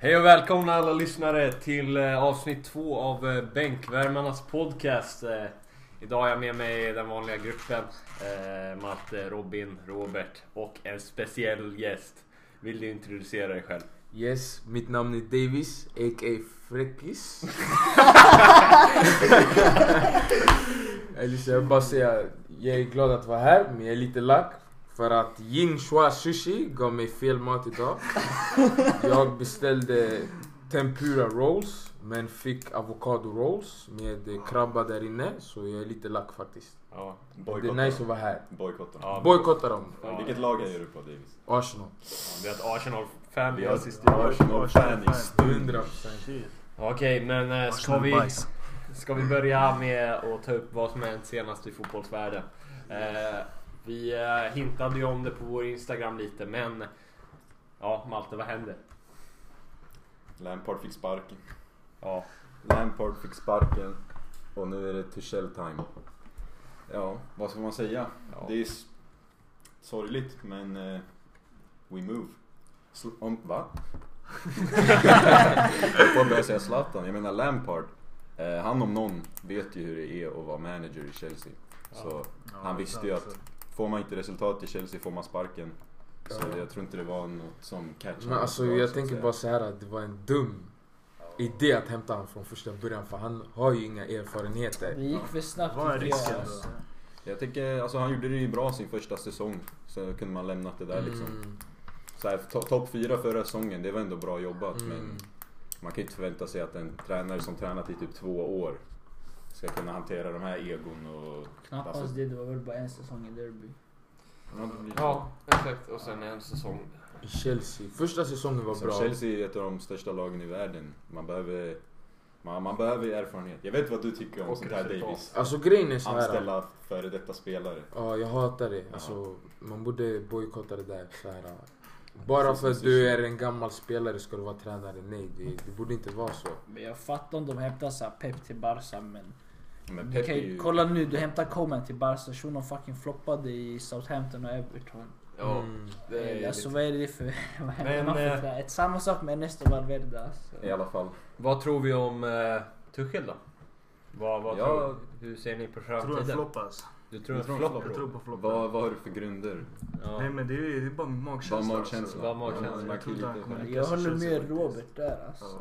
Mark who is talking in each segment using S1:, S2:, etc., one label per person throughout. S1: välkomna alla lyssnare till eh, avsnitt två av eh, Bänkvärmarnas podcast. Eh, Idag har jag med mig den vanliga gruppen. eh, Malte, Robin, Robert och en speciell gäst. Vill du introducera dig själv?
S2: Yes, mitt namn är Davis, a.k.a. Fräckis. Eller så jag vill bara säga, jag är glad att vara här, men jag är lite lack. För att Ying Shua Sushi gav mig fel mat idag. Jag beställde tempura rolls, men fick avocado rolls med krabba där inne. Så jag är lite lack faktiskt.
S1: Ja.
S2: Det är nice att vara här.
S3: Bojkotten.
S1: Ja,
S2: Bojkotta dem,
S1: ja,
S3: Vilket lag är du på Davis?
S2: Arsenal.
S1: Vi har ett Arsenal-fan
S3: Vi
S1: med
S3: har
S1: oss i
S3: ett
S1: studion.
S3: Arsenal-fan i studion.
S2: 100%.
S1: Okej, men eh, ska vi, ska vi börja med att ta upp vad som hänt senast i fotbollsvärlden? Eh, vi eh, hintade ju om det på vår Instagram lite, men ja, Malte, vad hände?
S3: Lampard fick sparken.
S1: Ja,
S3: Lampard fick sparken. Och nu är det Tuchel time. Ja, vad ska man säga?
S1: ja.
S3: Det är s- sorgligt men eh, we move. Sl- om, va? jag får börja säga Zlatan. Jag menar Lampard. Eh, han om någon vet ju hur det är att vara manager i Chelsea. Så han visste ju att får man inte resultat i Chelsea får man sparken. Så
S2: Ja.
S3: jag tror inte det var något som catchade.
S2: Men alltså
S3: honom, så
S2: jag
S3: att
S2: tänker
S3: säga.
S2: bara så här att det var en dum idé att hämta honom från första början för han har ju inga erfarenheter.
S4: Det gick för snabbt
S5: Vad är
S4: tycker jag,
S5: risken
S4: alltså.
S3: Jag tänker, alltså han gjorde det ju bra sin första säsong. Så kunde man lämnat det där liksom.
S2: Mm,
S3: Så här, to- topp fyra förra säsongen, det var ändå bra jobbat. Men
S2: mm.
S3: man kan ju inte förvänta sig att en tränare som tränat i typ två år ska kunna hantera de här egon och... Alltså-
S4: Knappast det, det var väl bara en säsong i derby.
S1: ja, exakt. Och sen en säsong.
S2: I Chelsea. Första säsongen var
S3: Så
S2: bra.
S3: Chelsea är ett av de största lagen i världen. Man behöver, man, man behöver erfarenhet. Jag vet vad du tycker om
S1: Och
S3: sånt här
S1: resultat.
S3: Davis.
S2: Alltså grejen är så här.
S3: Anställa före detta spelare.
S2: Ja, jag hatar det. Alltså, man borde bojkotta det där. Så här. Bara
S3: Precis,
S2: för att
S3: precis.
S2: du är en gammal spelare ska du vara tränare. Nej, det, det borde inte vara så.
S4: Men jag fattar om de hämtar så här Pep till Barca men...
S3: Men
S4: du
S3: Pep är
S4: kan ju,
S3: ju...
S4: Kolla nu, du hämtar Coman till Barca, shunon fucking floppade i Southampton och Everton.
S1: Ja,
S2: Mm.
S1: det är
S4: alltså
S1: lite-
S4: vad är det för... vad är det
S1: Men,
S4: man för
S1: eh,
S4: trä- Ett samma sak med Ernesto Valverde alltså.
S3: I alla fall.
S1: Vad tror vi om eh, Tuchel då? Vad, vad
S3: Ja.
S1: tror, hur ser ni på
S5: Jag tror jag
S1: framtiden?
S5: floppas.
S1: Du tror en
S3: Jag tror en
S1: flopp?
S5: Jag tror på
S3: Vad,
S5: floppar.
S3: vad har du för grunder?
S1: Ja.
S5: Nej men det är, det är bara min magkänsla.
S3: Bara magkänsla.
S1: Bara
S5: Ja,
S1: magkänsla.
S5: Jag tror inte han kommer
S4: Jag
S5: lyckas i
S4: håller
S5: Chelsea
S4: med
S5: faktiskt.
S4: Robert där alltså.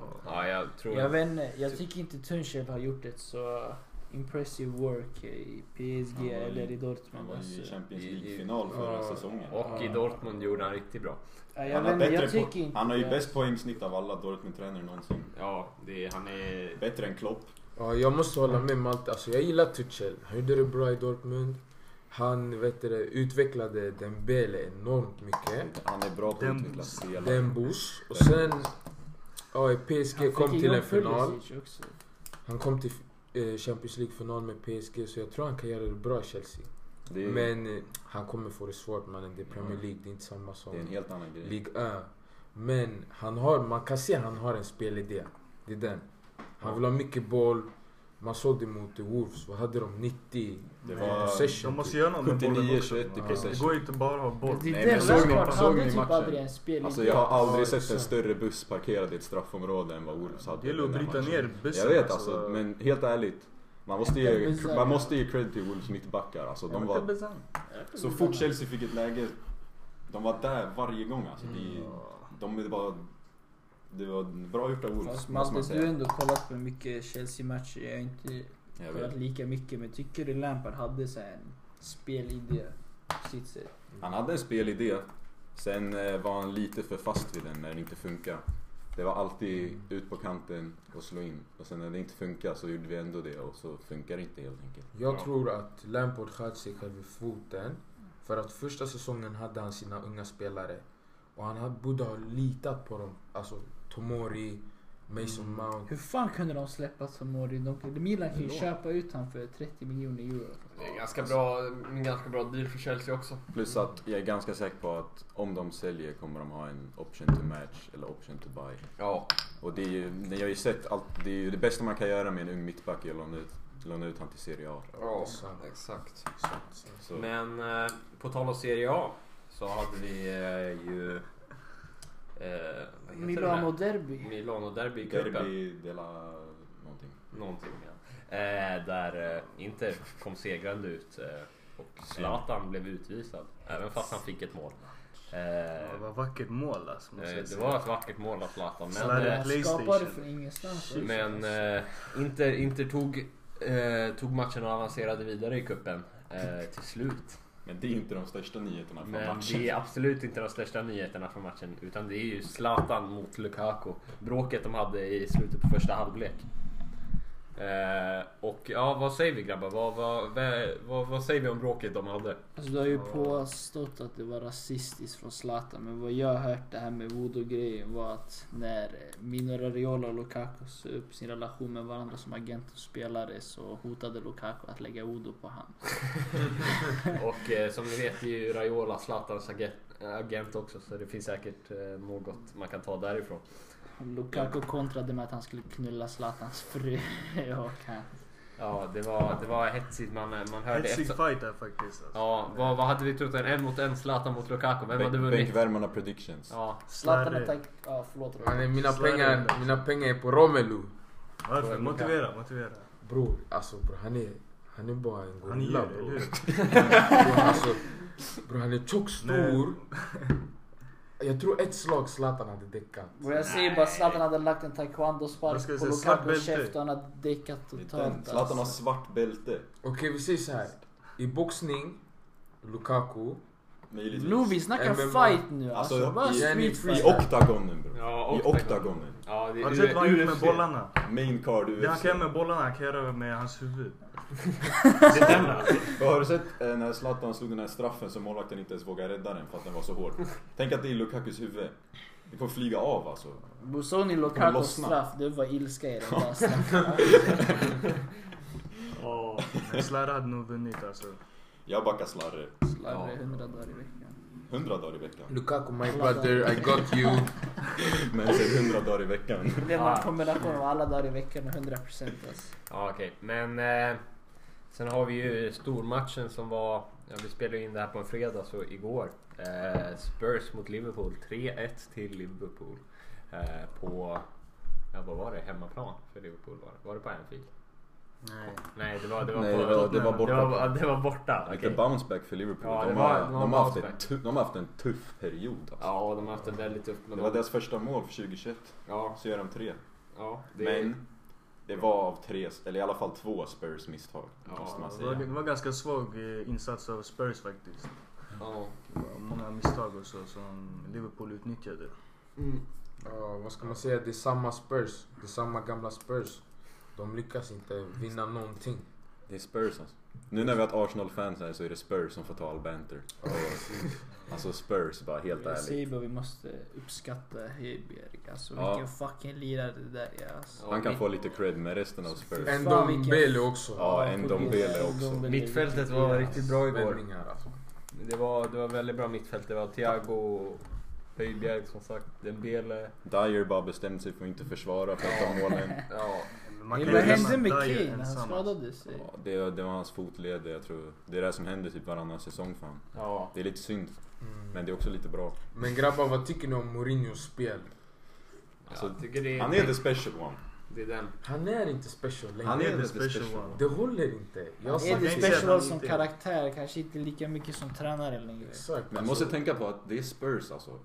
S1: Ja,
S5: Ja.
S1: jag tror...
S4: Jag vet inte,
S3: Typ-
S4: jag tycker inte Tunchel har gjort ett så impressive work i PSG
S3: Han var ju-
S4: eller i
S3: Han
S4: Dortmund
S3: var ju i
S4: alltså.
S3: Champions
S1: i- i-
S3: League-final förra
S2: ja.
S3: säsongen.
S1: Och i Dortmund gjorde han riktigt bra.
S4: Ja, Jag
S3: han,
S4: vet
S3: har
S4: inte,
S3: bättre
S4: jag
S3: po-
S4: tycker inte
S3: han har ju
S4: det.
S3: bäst poängsnitt av alla Dortmund-tränare någonsin.
S1: Ja, det, är- han är...
S3: Bättre än Klopp.
S2: Ja, jag måste hålla med Malte. Alltså, jag gillar Tuchel. Han gjorde det bra i Dortmund. Han vet du, det, utvecklade Dembele enormt mycket.
S3: Han är bra på att
S5: Den-
S3: utveckla spelare.
S2: Dembos. Och sen... Ja, PSG
S4: Han
S2: kom
S4: fick
S2: till en
S4: igång
S2: final.
S4: Pulisic också.
S2: Han kom till eh, Champions League-final med PSG, så jag tror han kan göra det bra i Chelsea.
S3: Det är,
S2: Men eh, han kommer få det svårt mannen. Det är Premier
S3: Mm.
S2: League, det är inte samma som
S3: det är en helt annan grej.
S2: Ligue 1. Men han har, man kan se att han har en spelidé. Det är den. Han vill ha mycket boll. Man såg det mot Wolves. Vad hade de? 90?
S3: Det
S5: Men
S3: var-
S2: possession,
S5: De måste
S2: typ.
S5: göra något med bollen
S3: 79,
S5: också.
S3: 21 i
S5: Ja.
S3: possession.
S5: Det går ju inte bara att ha boll.
S4: Det
S3: Nej,
S4: är den
S3: men såg ni-
S4: Lampard
S3: såg ni
S4: hade typ
S3: matchen?
S4: aldrig en spel
S3: Alltså jag har
S2: Ja,
S3: aldrig sett en
S2: exakt.
S3: större buss parkerad i ett straffområde än vad Wolves hade.
S5: Det gäller att
S3: den här
S5: bryta
S3: matchen.
S5: ner bussen.
S3: Jag vet alltså, men helt ärligt. Man måste
S4: Inte
S3: ge,
S4: bussar.
S3: man måste ge cred till Wolves mittbackar. Alltså, de var, så fort Chelsea fick ett läge, de var där varje gång. Alltså, de, de är bara, det var bra gjort av Wolves,
S4: Fast
S3: måste man
S4: Malte, du har
S3: säga.
S4: ändå kollat på mycket Chelsea-matcher. Jag har inte
S3: Jag vet.
S4: kollat lika mycket. Men tycker du Lampard hade så här en spelidé på sitt sätt?
S3: Han hade en spelidé. Sen eh, var han lite för fast vid den när den inte funkar. Det var alltid ut på kanten och slå in. Och sen när det inte funkar så gjorde vi ändå det och så funkar det inte helt enkelt.
S2: Jag
S1: Ja.
S2: tror att Lampard sköt sig själv i foten. För att första säsongen hade han sina unga spelare. Och han hade- borde ha litat på dem. Alltså Tomori,
S5: Mm.
S2: Mason Mount.
S4: Hur fan kunde de släppa Tomori? De, Milan kan ju
S3: Ja.
S4: köpa ut han för 30 miljoner euro.
S1: Det är ganska bra, en ganska bra deal för Chelsea också.
S3: Plus att jag är ganska säker på att om de säljer kommer de ha en option to match eller option to buy.
S1: Ja.
S3: Och det är ju, ni har ju sett allt, det är ju det bästa man kan göra med en ung mittback är att låna ut, låna ut han till Serie A.
S1: ja
S2: Sant,
S1: exakt.
S2: sant, sant.
S3: Så,
S1: Men eh, på tal om Serie A så hade vi eh, ju Eh, vad heter den
S6: Milano
S1: där?
S6: Derby.
S1: Milano Derby i cupen.
S3: Derby della... någonting.
S1: Någonting ja. Eh, där eh, Inter kom segrande ut eh, och Zlatan blev utvisad. Även fast han fick ett mål. Eh,
S5: Ja, det var vackert mål alltså. måste
S1: eh,
S5: jag
S1: det
S5: säga.
S1: var ett vackert mål av Zlatan. Men,
S5: Zlatan.
S1: eh,
S6: Han skapade
S5: Playstation.
S6: från ingenstans.
S1: men eh, Inter, Inter tog, eh, tog matchen och avancerade vidare i cupen. Eh, till slut.
S3: Men det är ju inte de största nyheterna från
S1: Men
S3: matchen.
S1: det är absolut inte de största nyheterna från matchen. Utan det är ju Zlatan mot Lukaku. Bråket de hade i slutet på första halvlek. Eh, och ja, vad säger vi grabbar? Vad, vad, vad, vad, vad säger vi om bråket de hade?
S6: Alltså, du har ju påstått att det var rasistiskt från Zlatan men vad jag har hört det här med voodoo-grejen var att när Mino Raiola och Lukaku såg upp sin relation med varandra som agent och spelare så hotade Lukaku att lägga voodoo på han.
S1: Och eh, som ni vet är ju Raiola Zlatans agent, agent också så det finns säkert eh, något man kan ta därifrån.
S6: Lukaku kontrade med att han skulle knulla Zlatans fru. och han.
S1: Ja, det var, det var hetsigt. Man, eh, man hörde
S5: Hetsig
S1: efter...
S5: fight där faktiskt. Alltså.
S1: Ja, vad, vad hade vi trott? En, en mot en Zlatan mot Lukaku. Vem hade vunnit?
S3: Bänkvärmarna predictions.
S1: Ja,
S6: Zlatan
S5: Slarrig.
S6: attack... Ja, förlåt.
S2: Mannen, mina,
S5: Slarvig.
S2: pengar, mina pengar är på Romelu.
S5: Varför? Motivera, motivera.
S2: Bror, alltså bror, han är, han är bara en
S5: Han är
S2: gorilla
S5: djur, eller
S2: bror.
S5: hur?
S2: Bror, alltså, bror, han är tjock, stor. Jag tror ett slag Zlatan hade däckat.
S6: Och jag säger bara Zlatan hade lagt en taekwondo-spark
S5: Vad ska jag
S6: på
S5: säga, svart
S6: Lukakus
S5: bälte.
S6: käft och han hade däckat
S3: Det är
S6: totalt.
S3: den. Zlatan har
S6: alltså.
S3: svart bälte.
S2: Okej, vi säger så här. I boxning, Lukaku.
S3: Möjligtvis.
S6: Blue, vi snackar
S2: MMA.
S6: fight nu alltså.
S3: Alltså,
S6: bara
S3: i-
S6: street
S2: i-
S3: I
S6: fight.
S3: oktagonen bro.
S1: Ja,
S3: I
S1: oktagon.
S3: oktagonen.
S1: ja det
S5: Har du sett vad han gjort med
S1: UFC.
S5: bollarna?
S3: Main card UFC.
S5: Det han kan göra med bollarna, han kan göra med hans huvud.
S1: Det är den alltså.
S3: Och har du sett eh, när Zlatan slog den här straffen så målvakten inte ens vågade rädda den för att den var så hård? Tänk att det är Lukakus huvud. Det kommer flyga av alltså.
S6: Busoni
S3: Kommer
S6: Lukakus
S3: lossna.
S6: straff, det var ilska i den där straffen.
S5: Oh. Men Zlatan hade nog vunnit alltså.
S3: Jag backar slarre.
S6: Slarvade hundra dagar i veckan.
S3: 100 dagar i veckan.
S2: Lukaku, my brother, I got you.
S3: Men säg 100 dagar i veckan.
S6: Det blev en kombination av alla dagar i veckan och 100 procent alltså.
S1: Ja, okej. Men eh, sen har vi ju stormatchen som var... Ja, vi spelade ju in det här på en fredag, så igår. Eh, Spurs mot Liverpool. 3-1 till Liverpool. Eh, på... Ja, vad var det? Hemmaplan för Liverpool var det. Var det på Anfield?
S5: Nej.
S1: Nej, det var, det var
S3: Nej,
S1: på...
S3: det var, det var
S1: det var,
S3: borta.
S1: det var borta.
S3: Lite
S1: okej.
S3: bounce back för Liverpool.
S1: Ja, det
S3: de,
S1: var-
S3: har,
S1: det var
S3: de, har haft ett
S1: bounce
S3: tuff, de har haft en tuff period alltså.
S1: Ja, de har haft en väldigt tuff...
S3: Det var deras första mål för 2021.
S1: Ja,
S3: Så gör de tre.
S1: ja. Det,
S3: Men det var av tre, eller i alla fall två Spurs misstag.
S1: Ja,
S3: måste man
S5: Det var, det
S3: säga.
S5: var ganska svag eh, insats av Spurs faktiskt.
S1: Ja.
S5: Det var många misstag och så som Liverpool utnyttjade.
S1: Mm.
S2: Ja, vad ska man säga? Det är samma Spurs. Det är samma gamla Spurs. De lyckas inte vinna någonting.
S3: Det är Spurs alltså. Nu när vi har ett Arsenal-fans här så är det Spurs som får ta all banter. Alltså Spurs bara, helt
S6: Jag
S3: ärligt.
S6: säger bara vi måste uppskatta Höjbjerg alltså.
S3: Ja.
S6: Vilken fucking lirare det där är alltså.
S3: Han kan få lite cred med resten av Spurs.
S6: Fan,
S2: En Dombele
S6: vilken-
S2: också.
S3: Ja, en Ndombele också.
S1: Mittfältet var riktigt bra igår.
S2: Vändningar alltså.
S1: Det var, det var väldigt bra mittfält. Det var Thiago, Höjbjerg som sagt, Dembele.
S3: Dyer bara bestämde sig för att inte försvara för att ta målen.
S1: Ja,
S5: Men
S6: Men
S5: kan
S6: Vad
S5: ju lämna
S6: hände med
S5: Dyer
S6: Kane? Han
S5: ensam.
S6: skadade sig.
S3: Ja, det, det var hans fotled, jag tror. Det är det som händer typ varannan säsong för han.
S1: ja.
S3: Det är lite synd,
S2: Mm.
S3: men det är också lite bra.
S2: Men grabbar, vad tycker ni om Mourinhos spel?
S3: Alltså,
S1: jag tycker det är,
S3: Han är the special one.
S1: det är den.
S2: Han är inte special längre.
S3: Han
S5: Han
S3: är
S5: är
S3: the
S5: the special
S3: special
S5: one.
S2: Det håller inte. Jag har
S6: Han är
S2: sagt
S6: det
S2: det.
S5: det inte.
S6: special
S5: Han
S6: som
S5: inte.
S6: karaktär, kanske inte lika mycket som tränare längre.
S2: Exakt.
S3: Men
S2: alltså.
S3: måste tänka på att det är Spurs alltså.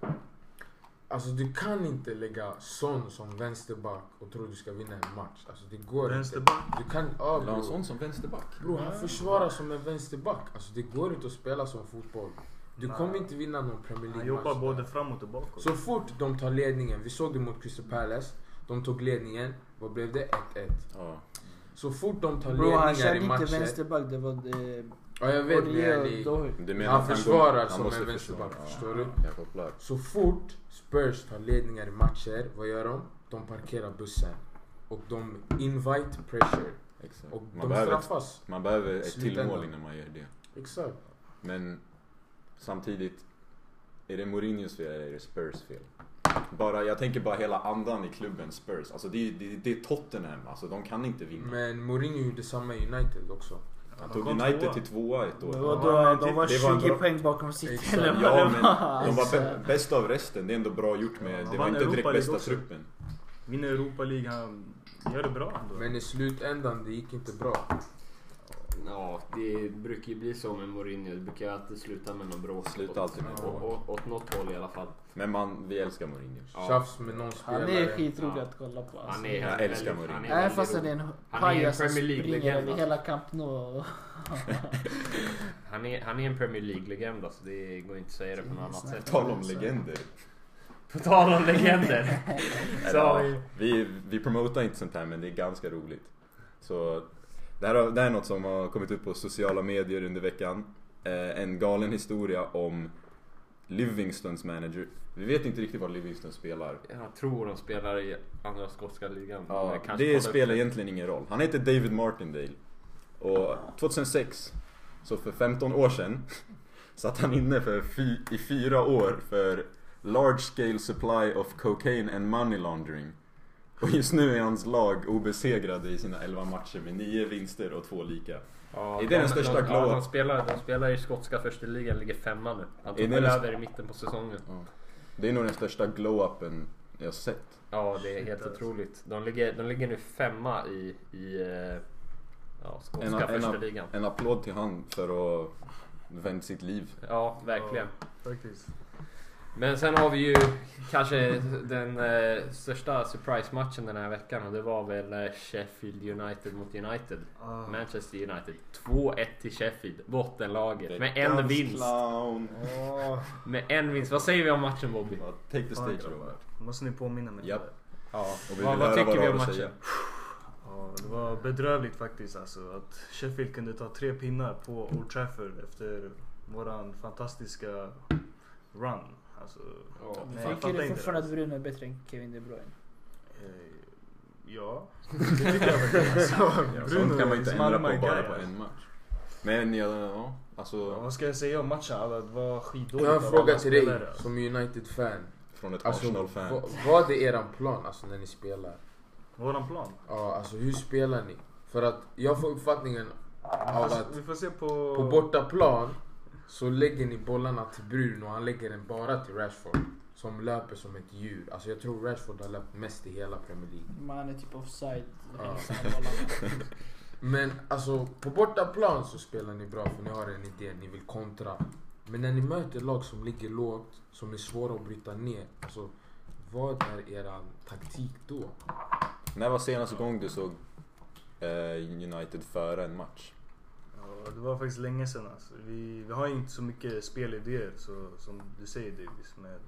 S2: Alltså du kan inte lägga Son som vänsterback och tro du ska vinna en match. Alltså det går
S5: Vänsterback.
S2: inte. Du kan... Ja,
S3: Eller en
S2: bror.
S3: sån som vänsterback.
S2: Bro, han försvarar som en vänsterback. Alltså det går inte att spela som fotboll. Du
S5: Nej.
S2: kommer inte vinna någon Premier
S5: Han
S2: League-match.
S5: jobbar
S2: där.
S5: både framåt och bakåt.
S2: Så fort de tar ledningen, vi såg det mot Crystal Palace. De tog ledningen, vad blev det? 1-1.
S3: Ja.
S2: Så fort de tar
S6: Bro, han
S2: ledningar
S6: körde
S2: i
S6: inte
S2: matcher...
S6: vänsterback, det var eh, det...
S2: Ja, jag vet men
S6: Oreo
S2: yani,
S6: Doherty.
S3: Du
S2: Han
S3: att går-
S2: försvarar
S3: han
S2: som en
S3: måste
S2: vänsterback,
S3: försvara.
S2: förstår du?
S3: Jag kopplar.
S2: Så fort Spurs tar ledningar i matcher, vad gör de? De parkerar bussen. Och de invite pressure.
S3: Exakt.
S2: Och
S3: man,
S2: de
S3: behöver,
S2: straffas.
S3: man behöver ett till
S2: Slutändan.
S3: mål innan man gör det.
S2: Exakt.
S3: Men samtidigt, är det Mourinhos fel eller är det Spurs fel? Bara, jag tänker bara hela andan i klubben Spurs. Alltså det, är- det, är- det är Tottenham, alltså de kan inte vinna.
S2: Men Mourinho gjorde samma i United också.
S3: Han
S5: de
S3: tog
S5: kom
S3: United
S5: tvåa.
S3: till tvåa ett år.
S4: Men
S5: vad-
S4: vadå, de var
S3: det var en
S4: 20
S3: bra-
S4: poäng bakom City
S2: Exakt.
S4: eller vad
S3: Ja
S4: det
S3: men
S4: var?
S3: de var
S4: Alltså.
S3: bä- bäst av resten. Det är ändå bra gjort med...
S5: Han
S3: Det var
S5: vann
S3: inte direkt
S5: Europa League
S3: bästa
S5: också.
S3: truppen.
S5: Vinner Europa League, han gör det bra ändå.
S2: Men i slutändan, det gick inte bra.
S1: Ja, det brukar ju bli så med Mourinho. Det brukar ju alltid sluta med någon bråk.
S3: Slutar alltid med
S1: Åt-
S3: bråk.
S1: åt- Åt något håll i alla fall.
S3: Men man, vi älskar Mourinho.
S1: Ja.
S2: Tjafs med någon
S4: Han
S2: spelare.
S4: är skitrolig
S1: Ja.
S4: att kolla på. Alltså.
S1: Han är,
S3: Jag älskar
S1: väldigt-
S3: Mourinho.
S1: han
S4: Även
S1: väldigt
S4: fast han
S1: rolig.
S4: är en
S1: Han är en
S4: pajas som
S1: Premier
S4: springer
S1: League-legend.
S4: över
S1: alltså.
S4: hela Camp Nou. och-
S1: Han är, han är en Premier League-legend alltså. Det går inte att säga det på något annat sätt.
S3: Tal om legender.
S1: På tal om legender. så
S3: Eller,
S1: har
S3: ja,
S1: vi...
S3: vi, vi promotar inte sånt här men det är ganska roligt. Så det här, har- det här är något som har kommit upp på sociala medier under veckan. Eh, en galen historia om Livingstons manager. Vi vet inte riktigt var Livingston spelar.
S1: Jag tror de spelar i andra skotska ligan.
S3: Ja,
S1: Jag Eh, kanske kollar
S3: det
S1: upp
S3: spelar egentligen ingen roll. Han heter David Martindale. Och 2006, så för 15 år sedan, satt han inne för fy, i fyra år för large scale supply of cocaine and money laundering. Och just nu är hans lag obesegrade i sina 11 matcher med 9 vinster och 2 lika.
S1: Ja,
S3: Är det den största
S1: de, ja,
S3: glow-up?
S1: de, spelar, de spelar i skotska första ligan, ligger femma nu. Han
S3: Är
S1: tog
S3: det
S1: väl
S3: den-
S1: över i mitten på säsongen.
S3: Det är nog den största glow-upen jag sett.
S1: Ja, det är
S5: Shit,
S1: helt
S5: alltså.
S1: otroligt. De ligger, de ligger nu femma i, i eh, ja,
S3: En,
S1: skotska
S3: en,
S1: första
S3: en,
S1: ligan.
S3: en applåd till han för att vänt sitt liv.
S1: Ja, verkligen.
S5: Faktiskt.
S1: Men sen har vi ju kanske den eh, största surprise-matchen den här veckan och det var väl eh, Sheffield United mot United.
S5: Ah.
S1: Manchester United. 2-1 till Sheffield, bottenlaget. Med en
S3: Veckans
S1: vinst.
S3: Clown.
S5: Åh,
S1: Med en vinst. Vad säger vi om matchen Bobby?
S3: Ja, Take the
S5: fan,
S3: stage Robert.
S5: grabbar. Måste ni påminna mig?
S3: Japp.
S1: Ja,
S3: Och vi
S1: vad,
S3: vill
S1: vad
S3: höra
S1: tycker
S3: vad
S1: vi
S3: du
S1: om
S3: har att
S1: matchen?
S3: säga.
S5: Ja, det var bedrövligt faktiskt alltså att Sheffield kunde ta tre pinnar på Old Trafford efter våran fantastiska run. Alltså,
S1: Ja.
S5: Nej, jag
S4: Tycker
S5: fattar
S4: du
S5: inte
S4: fortfarande
S5: det.
S4: att Bruno är bättre än Kevin De Bruyne?
S5: Eh, Ja, det tycker jag faktiskt. Alltså,
S3: Ja,
S5: Bruno
S3: sånt kan man inte
S5: is
S3: ändra
S5: my
S3: på bara
S5: guy,
S3: på
S5: alltså.
S3: en match. Men ja, ja
S5: Ja,
S3: alltså
S5: Vad ska jag säga om matchen? Alla, det var skitdåligt.
S2: Jag har
S5: av
S2: en
S5: alla
S2: fråga till dig
S5: spelare, alltså.
S2: som United-fan.
S3: från ett
S2: Alltså,
S3: Arsenal-fan.
S2: va- vad är eran plan alltså, när ni spelar?
S5: Våran plan?
S2: Ja, alltså hur spelar ni? För att jag får uppfattningen av
S5: Alltså,
S2: att
S5: vi får se på...
S2: på bortaplan så lägger ni bollarna till Bruno och han lägger den bara till Rashford. Som löper som ett djur. Alltså jag tror Rashford har löpt mest i hela Premier League.
S4: Man är typ offside.
S2: Ja.
S4: hälsan och bollarna.
S2: Men alltså på bortaplan så spelar ni bra för ni har en idé, ni vill kontra. Men när ni möter lag som ligger lågt, som är svåra att bryta ner. Alltså, vad är eran taktik då?
S3: När var senaste gång du såg eh, United föra en match?
S5: Ja, det var faktiskt länge sedan alltså. vi, vi har ju inte så mycket spelidéer så, som du säger Davis. Men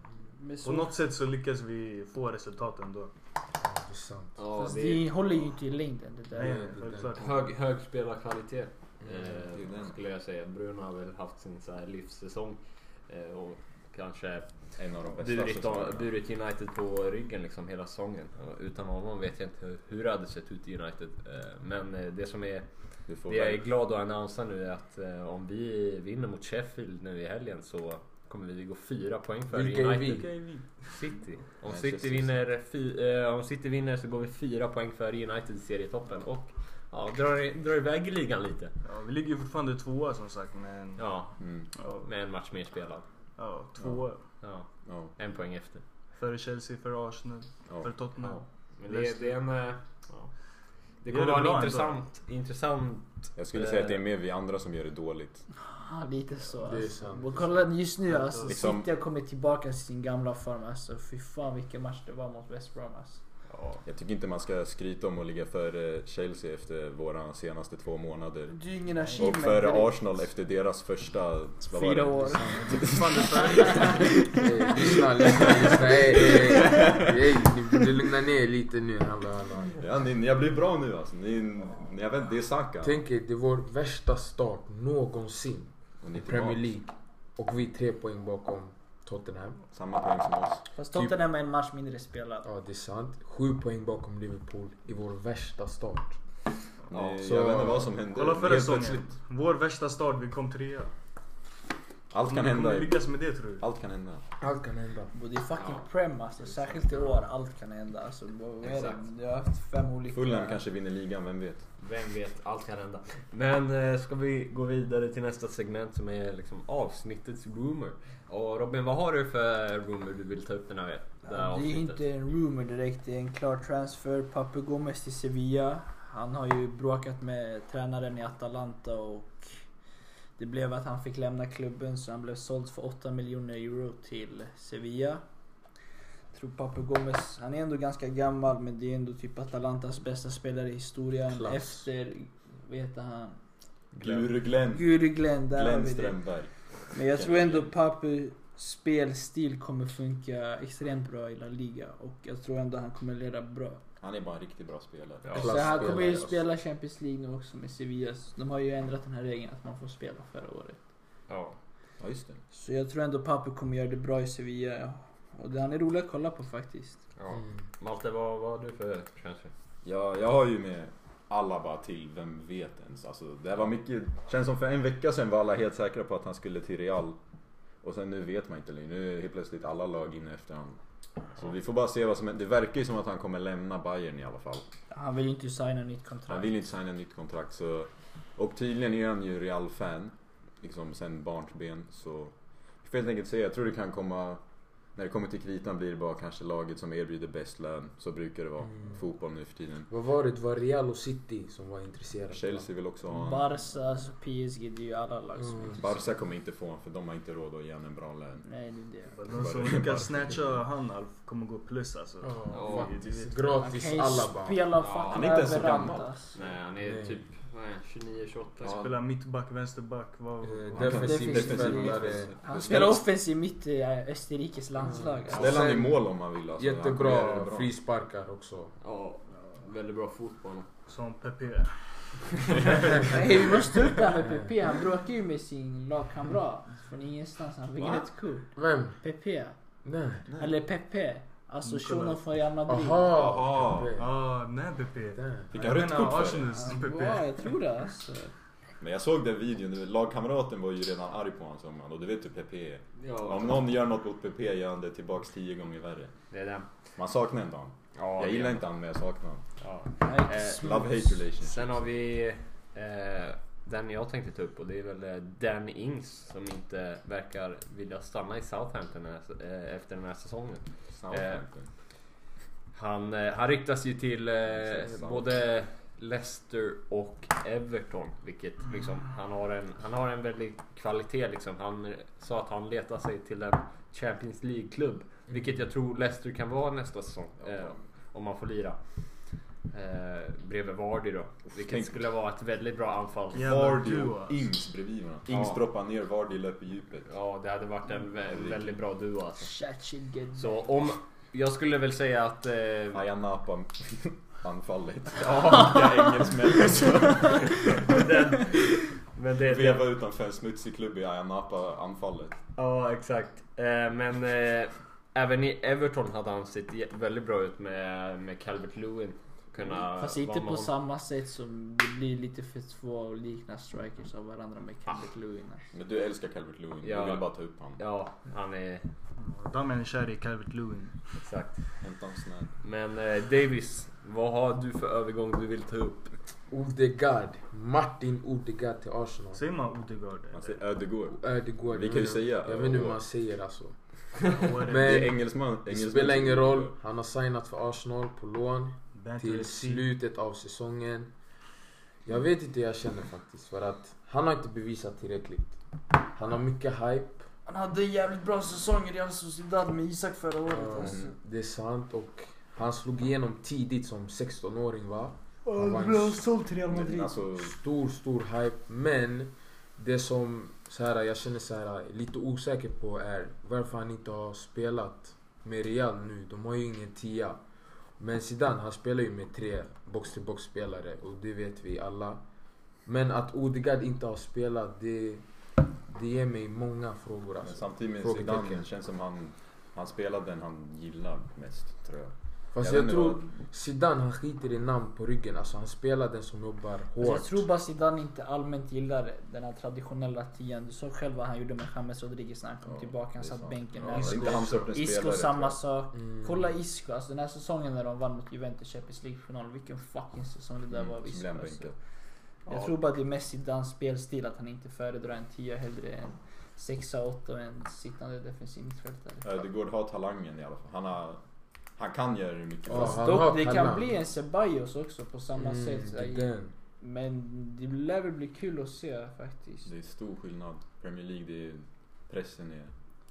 S4: Med
S5: på
S4: så-
S5: något sätt så lyckas vi få resultat ändå.
S2: Ja, det är sant.
S1: Ja,
S4: Fast
S1: det
S4: det håller ju inte i längden det där.
S5: Nej,
S2: det-
S5: självklart.
S1: hög, hög spelarkvalitet
S3: det är
S1: eh,
S3: den.
S1: skulle jag säga. Bruno har väl haft sin så här livssäsong eh, och kanske
S3: En av de bästa
S1: burit,
S3: som
S1: dem-
S3: spelar.
S1: burit United på ryggen liksom hela säsongen. Och Utan honom vet jag inte hur det hade sett ut i United. Eh, Men eh, det som är
S3: Du får
S1: det jag är
S3: väl-
S1: glad att annonsera nu är att eh, om vi vinner mot Sheffield nu i helgen så kommer vi gå fyra poäng före
S2: Vilka är
S1: United.
S2: vi?
S1: City. Om
S3: Nej,
S1: City,
S3: precis.
S1: vinner, fy, eh, om City vinner så går vi fyra poäng före United i serietoppen och ja, drar, i- drar iväg ligan lite.
S5: Ja, vi ligger ju fortfarande tvåa som sagt men... Ja,
S1: Ja,
S3: Mm,
S1: med en match mer spelad.
S5: ja, tvåa.
S1: Ja,
S3: ja,
S1: en poäng efter.
S5: Före Chelsea, före Arsenal,
S3: ja.
S5: före Tottenham.
S1: Ja. Men det, är- det är en... eh, Ja. Det
S5: Gör
S1: kommer
S5: det
S1: vara
S5: bra
S1: en
S5: ändå.
S1: intressant, intressant...
S3: Jag skulle säga att det är mer vi andra som gör det dåligt.
S4: Ja, Ah, lite så.
S2: Det är
S4: Alltså.
S2: sant.
S4: Och kolla just nu alltså.
S3: Liksom-
S4: City har kommit tillbaka till sin gamla form. Alltså fy fan vilken match det var mot West Brom alltså.
S1: Ja.
S3: Jag tycker inte man ska skryta om att ligga före Chelsea efter våra senaste två månader.
S4: Det är ju ingen
S3: Och
S4: achievement.
S3: före
S4: direkt.
S3: Arsenal efter deras första... vad var
S4: Fyra
S3: det?
S4: år.
S2: Hey, Eh, lyssna, lyssna, lyssna. Eh, Hey, hey, hey. Hey, ni borde lugna ner er lite nu. Hallå, hallå.
S3: Ja, ni, ni har blivit bra nu alltså. Ni, ni, jag vet, det är Saka.
S2: Tänk er, det är vår värsta start någonsin
S3: Och ni
S2: i
S3: är
S2: Premier
S3: tillbaka.
S2: League. Och vi är tre poäng bakom Tottenham.
S3: Samma poäng som oss.
S4: Fast
S3: Typ-
S4: Tottenham är en match mindre spelad.
S2: Ja, det är sant. Sju poäng bakom Liverpool i vår värsta start.
S3: Ni,
S2: så-
S3: jag vet inte vad som hände.
S5: Kolla förra
S3: Helt
S5: säsongen.
S3: plötsligt.
S5: Vår värsta start, vi kom trea.
S3: Allt kan
S5: Kommer-
S3: hända.
S5: Kommer vi
S3: i-
S5: lyckas med det tror du?
S3: Allt kan hända.
S2: Allt kan hända.
S6: Och det är fucking
S1: Ja.
S6: prem alltså, särskilt i år, allt kan hända. Alltså, vad vad är det?
S1: Exakt.
S6: Jag har haft fem olika...
S3: Fulham kanske vinner ligan, vem vet?
S1: Vem vet, allt kan hända. Men eh, ska vi gå vidare till nästa segment som är liksom avsnittets rumor. Och Robin, vad har du för rumor du vill ta upp den här, det
S6: Det
S1: här
S6: är
S1: avsnittet?
S6: inte en rumor direkt, det är en klar transfer. Papu Gomez till Sevilla. Han har ju bråkat med tränaren i Atalanta och det blev att han fick lämna klubben så han blev såld för 8 miljoner euro till Sevilla. Jag tror Papu Gomez, han är ändå ganska gammal men det är ändå typ Atalantas bästa spelare i historien
S2: Klass.
S6: efter, vad heter han?
S3: Guru Glenn.
S6: Guri Glenn, där har
S3: Glenn
S6: vi det.
S3: Strömberg.
S6: Men jag tror ändå Papu spelstil kommer funka extremt bra i La Liga och jag tror ändå han kommer leda bra.
S3: Han är bara en riktigt bra spelare.
S1: Ja.
S6: Så han
S2: Klassspelare,
S6: kommer ju
S2: alltså.
S6: spela Champions League nu också med Sevilla. Så De har ju ändrat den här regeln att man får spela förra året.
S1: Ja.
S3: Ja, just det.
S6: Så jag tror ändå Papu kommer göra det bra i Sevilla. ja. Och det, han är rolig att kolla på faktiskt.
S1: ja.
S2: Mm.
S1: Malte, vad, vad har du för transfer?
S3: Ja, jag har ju med alla bara till, vem vet ens. Alltså, det här var mycket, känns som för en vecka sedan var alla helt säkra på att han skulle till Real. Och sen nu vet man inte längre. Nu är helt plötsligt alla lag inne efter honom. Så vi får bara se vad som händer. Det verkar ju som att han kommer lämna Bayern i alla fall.
S6: Han vill ju inte signa nytt
S3: Han
S6: kontrakt.
S3: vill ju inte signa nytt kontrakt så... Och tydligen är han ju Real-fan. Liksom sen barnsben så... Vi får helt enkelt se, jag tror det kan komma... När det kommer till kritan blir det bara kanske laget som erbjuder bäst lön. Så brukar det vara.
S2: Mm.
S3: Fotboll nu för tiden.
S2: Vad var det? Det var Real och City som var intresserade.
S3: Chelsea vill också ha honom.
S6: Barca, alltså PSG, det är ju alla lag som
S2: Mm.
S6: inte-
S3: Barca kommer inte få honom för de har inte råd att ge honom en bra lön.
S6: Nej, det är det.
S5: De som Alltså, lyckas snatcha han Alf kommer gå plus alltså.
S2: Ja,
S1: Ja,
S5: det
S2: faktiskt.
S5: vet
S6: Han kan
S2: Gratis
S6: ju
S2: alla bara.
S6: spela
S1: Ja,
S6: fucking
S3: han är inte ens så
S6: överallt,
S3: gammal.
S6: alltså.
S1: Nej, han är
S2: Nej.
S1: typ vad är han, 29, 28.
S3: Ja.
S5: Spela mittback, vänsterback, vad...
S2: Eh,
S3: Han kan-
S2: Defensiv
S6: defensiv
S2: spelare.
S3: defensiv.
S6: Han spelar offensiv mitt i eh, Österrikes landslag.
S2: Mm.
S6: Alltså.
S3: Ställ han i mål om han vill alltså. Han kommer göra det
S2: Jättebra
S3: bra.
S2: frisparkar också.
S1: Ja, väldigt bra fotboll.
S5: Som Pepe.
S6: Nej, vi måste ta upp det här med Pepe. Han bråkar ju med sin lagkamrat från ingenstans. Han fick
S3: Va?
S6: rött kort.
S2: Vem?
S6: Pepe.
S2: Nej.
S6: Eller Pepe. Alltså
S5: Nicolas.
S6: shunon från Real Madrid.
S2: Aha!
S3: Jaha.
S5: Ah, nej Pepe.
S2: Damn.
S3: Fick
S5: Jag
S3: han rött
S5: menar
S3: kort för det?
S5: Arsenals
S6: Ja,
S5: Pepe.
S6: jag tror det alltså.
S3: Men jag såg den videon, du vet, lagkamraten var ju redan arg på honom som han och du vet hur PP är.
S1: Ja,
S3: Om någon gör något mot PP gör han det tillbaks tio gånger värre.
S1: det är den.
S3: Man saknar ändå honom.
S1: Ja,
S3: Jag
S1: det-
S3: gillar inte honom men jag saknar honom.
S1: Ja.
S6: Nej,
S1: Eh,
S6: smooth.
S3: Love hate relationship.
S1: Sen har vi eh, den jag tänkte ta upp och det är väl eh, Dan Ings som inte verkar vilja stanna i Southampton den här- eh, efter den här säsongen.
S3: Southampton.
S1: Han, eh, han ryktas ju till eh,
S3: Southampton.
S1: både Leicester och Everton. Vilket liksom, han har en, han har en väldig kvalitet liksom. Han eh, sa att han letar sig till en Champions League-klubb. Vilket jag tror Leicester kan vara nästa säsong. Eh, om man får lira. Eh, bredvid Vardy då. Vilket
S3: tänk-
S1: skulle vara ett väldigt bra anfall.
S5: Ja. Jävla
S3: Vardy
S5: duo,
S3: och
S5: alltså.
S3: Ings bredvid varandra. Ings
S1: Ja.
S3: droppar ner, Vardy löper djupet.
S1: Ja, det hade varit en vä- väldigt bra duo alltså.
S6: Chachil Gedde.
S1: Så om... Jag skulle väl säga att... Eh,
S3: Ayia Napa anfallet. Ja, vilka engelsmän alltså.
S1: den, men det, det,
S3: Veva utanför en smutsig klubb i Ayia Napa anfallet.
S1: Ja, exakt. Eh, men eh, även i Everton hade han sett jä- väldigt bra ut med, med Calvert Lewin. Kunna
S6: Mm, Fast
S1: vara
S6: inte
S1: med
S6: på
S1: honom.
S6: samma sätt som det blir lite för två likna strikers av varandra med
S1: Ah.
S6: alltså. Calvert Lewin.
S3: Men du älskar Calvert Lewin,
S1: Ja.
S3: du vill bara ta upp honom.
S1: Ja, han är...
S5: Dammen är kär i Calvert Lewin.
S1: Exakt.
S3: Hämta honom snabbt.
S1: Men eh, Davis, vad har du för övergång du vill ta upp?
S2: Odegaard. Martin Odegaard till Arsenal.
S5: Säger man Odegaard?
S3: Man säger Ödegård.
S2: Ödegaard.
S3: Vi
S2: jag
S3: kan ju
S2: vet-
S3: säga
S2: Jag vet inte hur
S3: Ödegaard.
S2: man säger alltså.
S5: Eller?
S3: Det är
S2: Men
S3: engelsman.
S2: det
S3: engelsman
S2: spelar
S3: som-
S2: ingen roll. Han har signat för Arsenal på lån till
S5: Till slut.
S2: slutet av säsongen. Jag vet inte hur jag känner faktiskt. För att han har inte bevisat tillräckligt. Han har mycket hype.
S6: Han hade en jävligt bra säsong i Real Sociedad med Isak förra året.
S2: Ja,
S6: Alltså.
S2: Det är sant och han slog igenom tidigt som 16-åring va?
S6: Och
S2: var en
S6: blev såld till Real
S3: Men
S6: Madrid.
S3: Alltså,
S2: Stor, stor hype men det som så här, jag känner så här, lite osäker på är varför han inte har spelat med Real nu. De har ju ingen tia. Men Zidane han spelar ju med tre box-till-box spelare och det vet vi alla. Men att Odegaard inte har spelat det, det ger mig många frågor
S3: men
S2: alltså.
S3: samtidigt med
S2: Frågetecken.
S3: Zidane känns som han, han spelar den han gillar mest tror jag.
S2: Fast
S3: Jag
S2: jag,
S3: vet inte
S2: tror Zidane han skiter i namn på ryggen. Alltså han spelar den som jobbar hårt.
S6: Alltså, Jag tror bara Zidane inte allmänt gillar den här traditionella tian. Du såg själv vad han gjorde med James Rodriguez när han kom
S3: Ja,
S6: tillbaka. Han
S3: det är
S6: satt
S3: sant.
S6: bänken.
S3: Ja,
S6: med
S3: det är inte hans sortens
S6: Isco
S3: spelare,
S6: samma
S3: tror jag. Mm.
S6: sak.
S2: Mm.
S6: Kolla Isco, alltså den här säsongen när de vann mot Juventus Champions League-final. Vilken fucking säsong det där var
S3: Mm,
S6: av
S3: så
S6: Isco.
S3: blir han
S6: Alltså.
S3: bänkad.
S6: Jag tror bara det är mest Zidanes spelstil att han inte föredrar en 10 hellre än 6 8 och en sittande defensiv mittfältare.
S3: Ödegård har talangen i alla fall. Han, har, han kan göra det mycket
S2: Ja,
S3: bra.
S2: han har
S6: Dock, det kan
S2: talang.
S6: bli en Ceballos också på samma
S2: Mm,
S6: sätt.
S2: det är den.
S6: Men det lär väl bli kul att se faktiskt.
S3: Det är stor skillnad. Premier League, det är, pressen är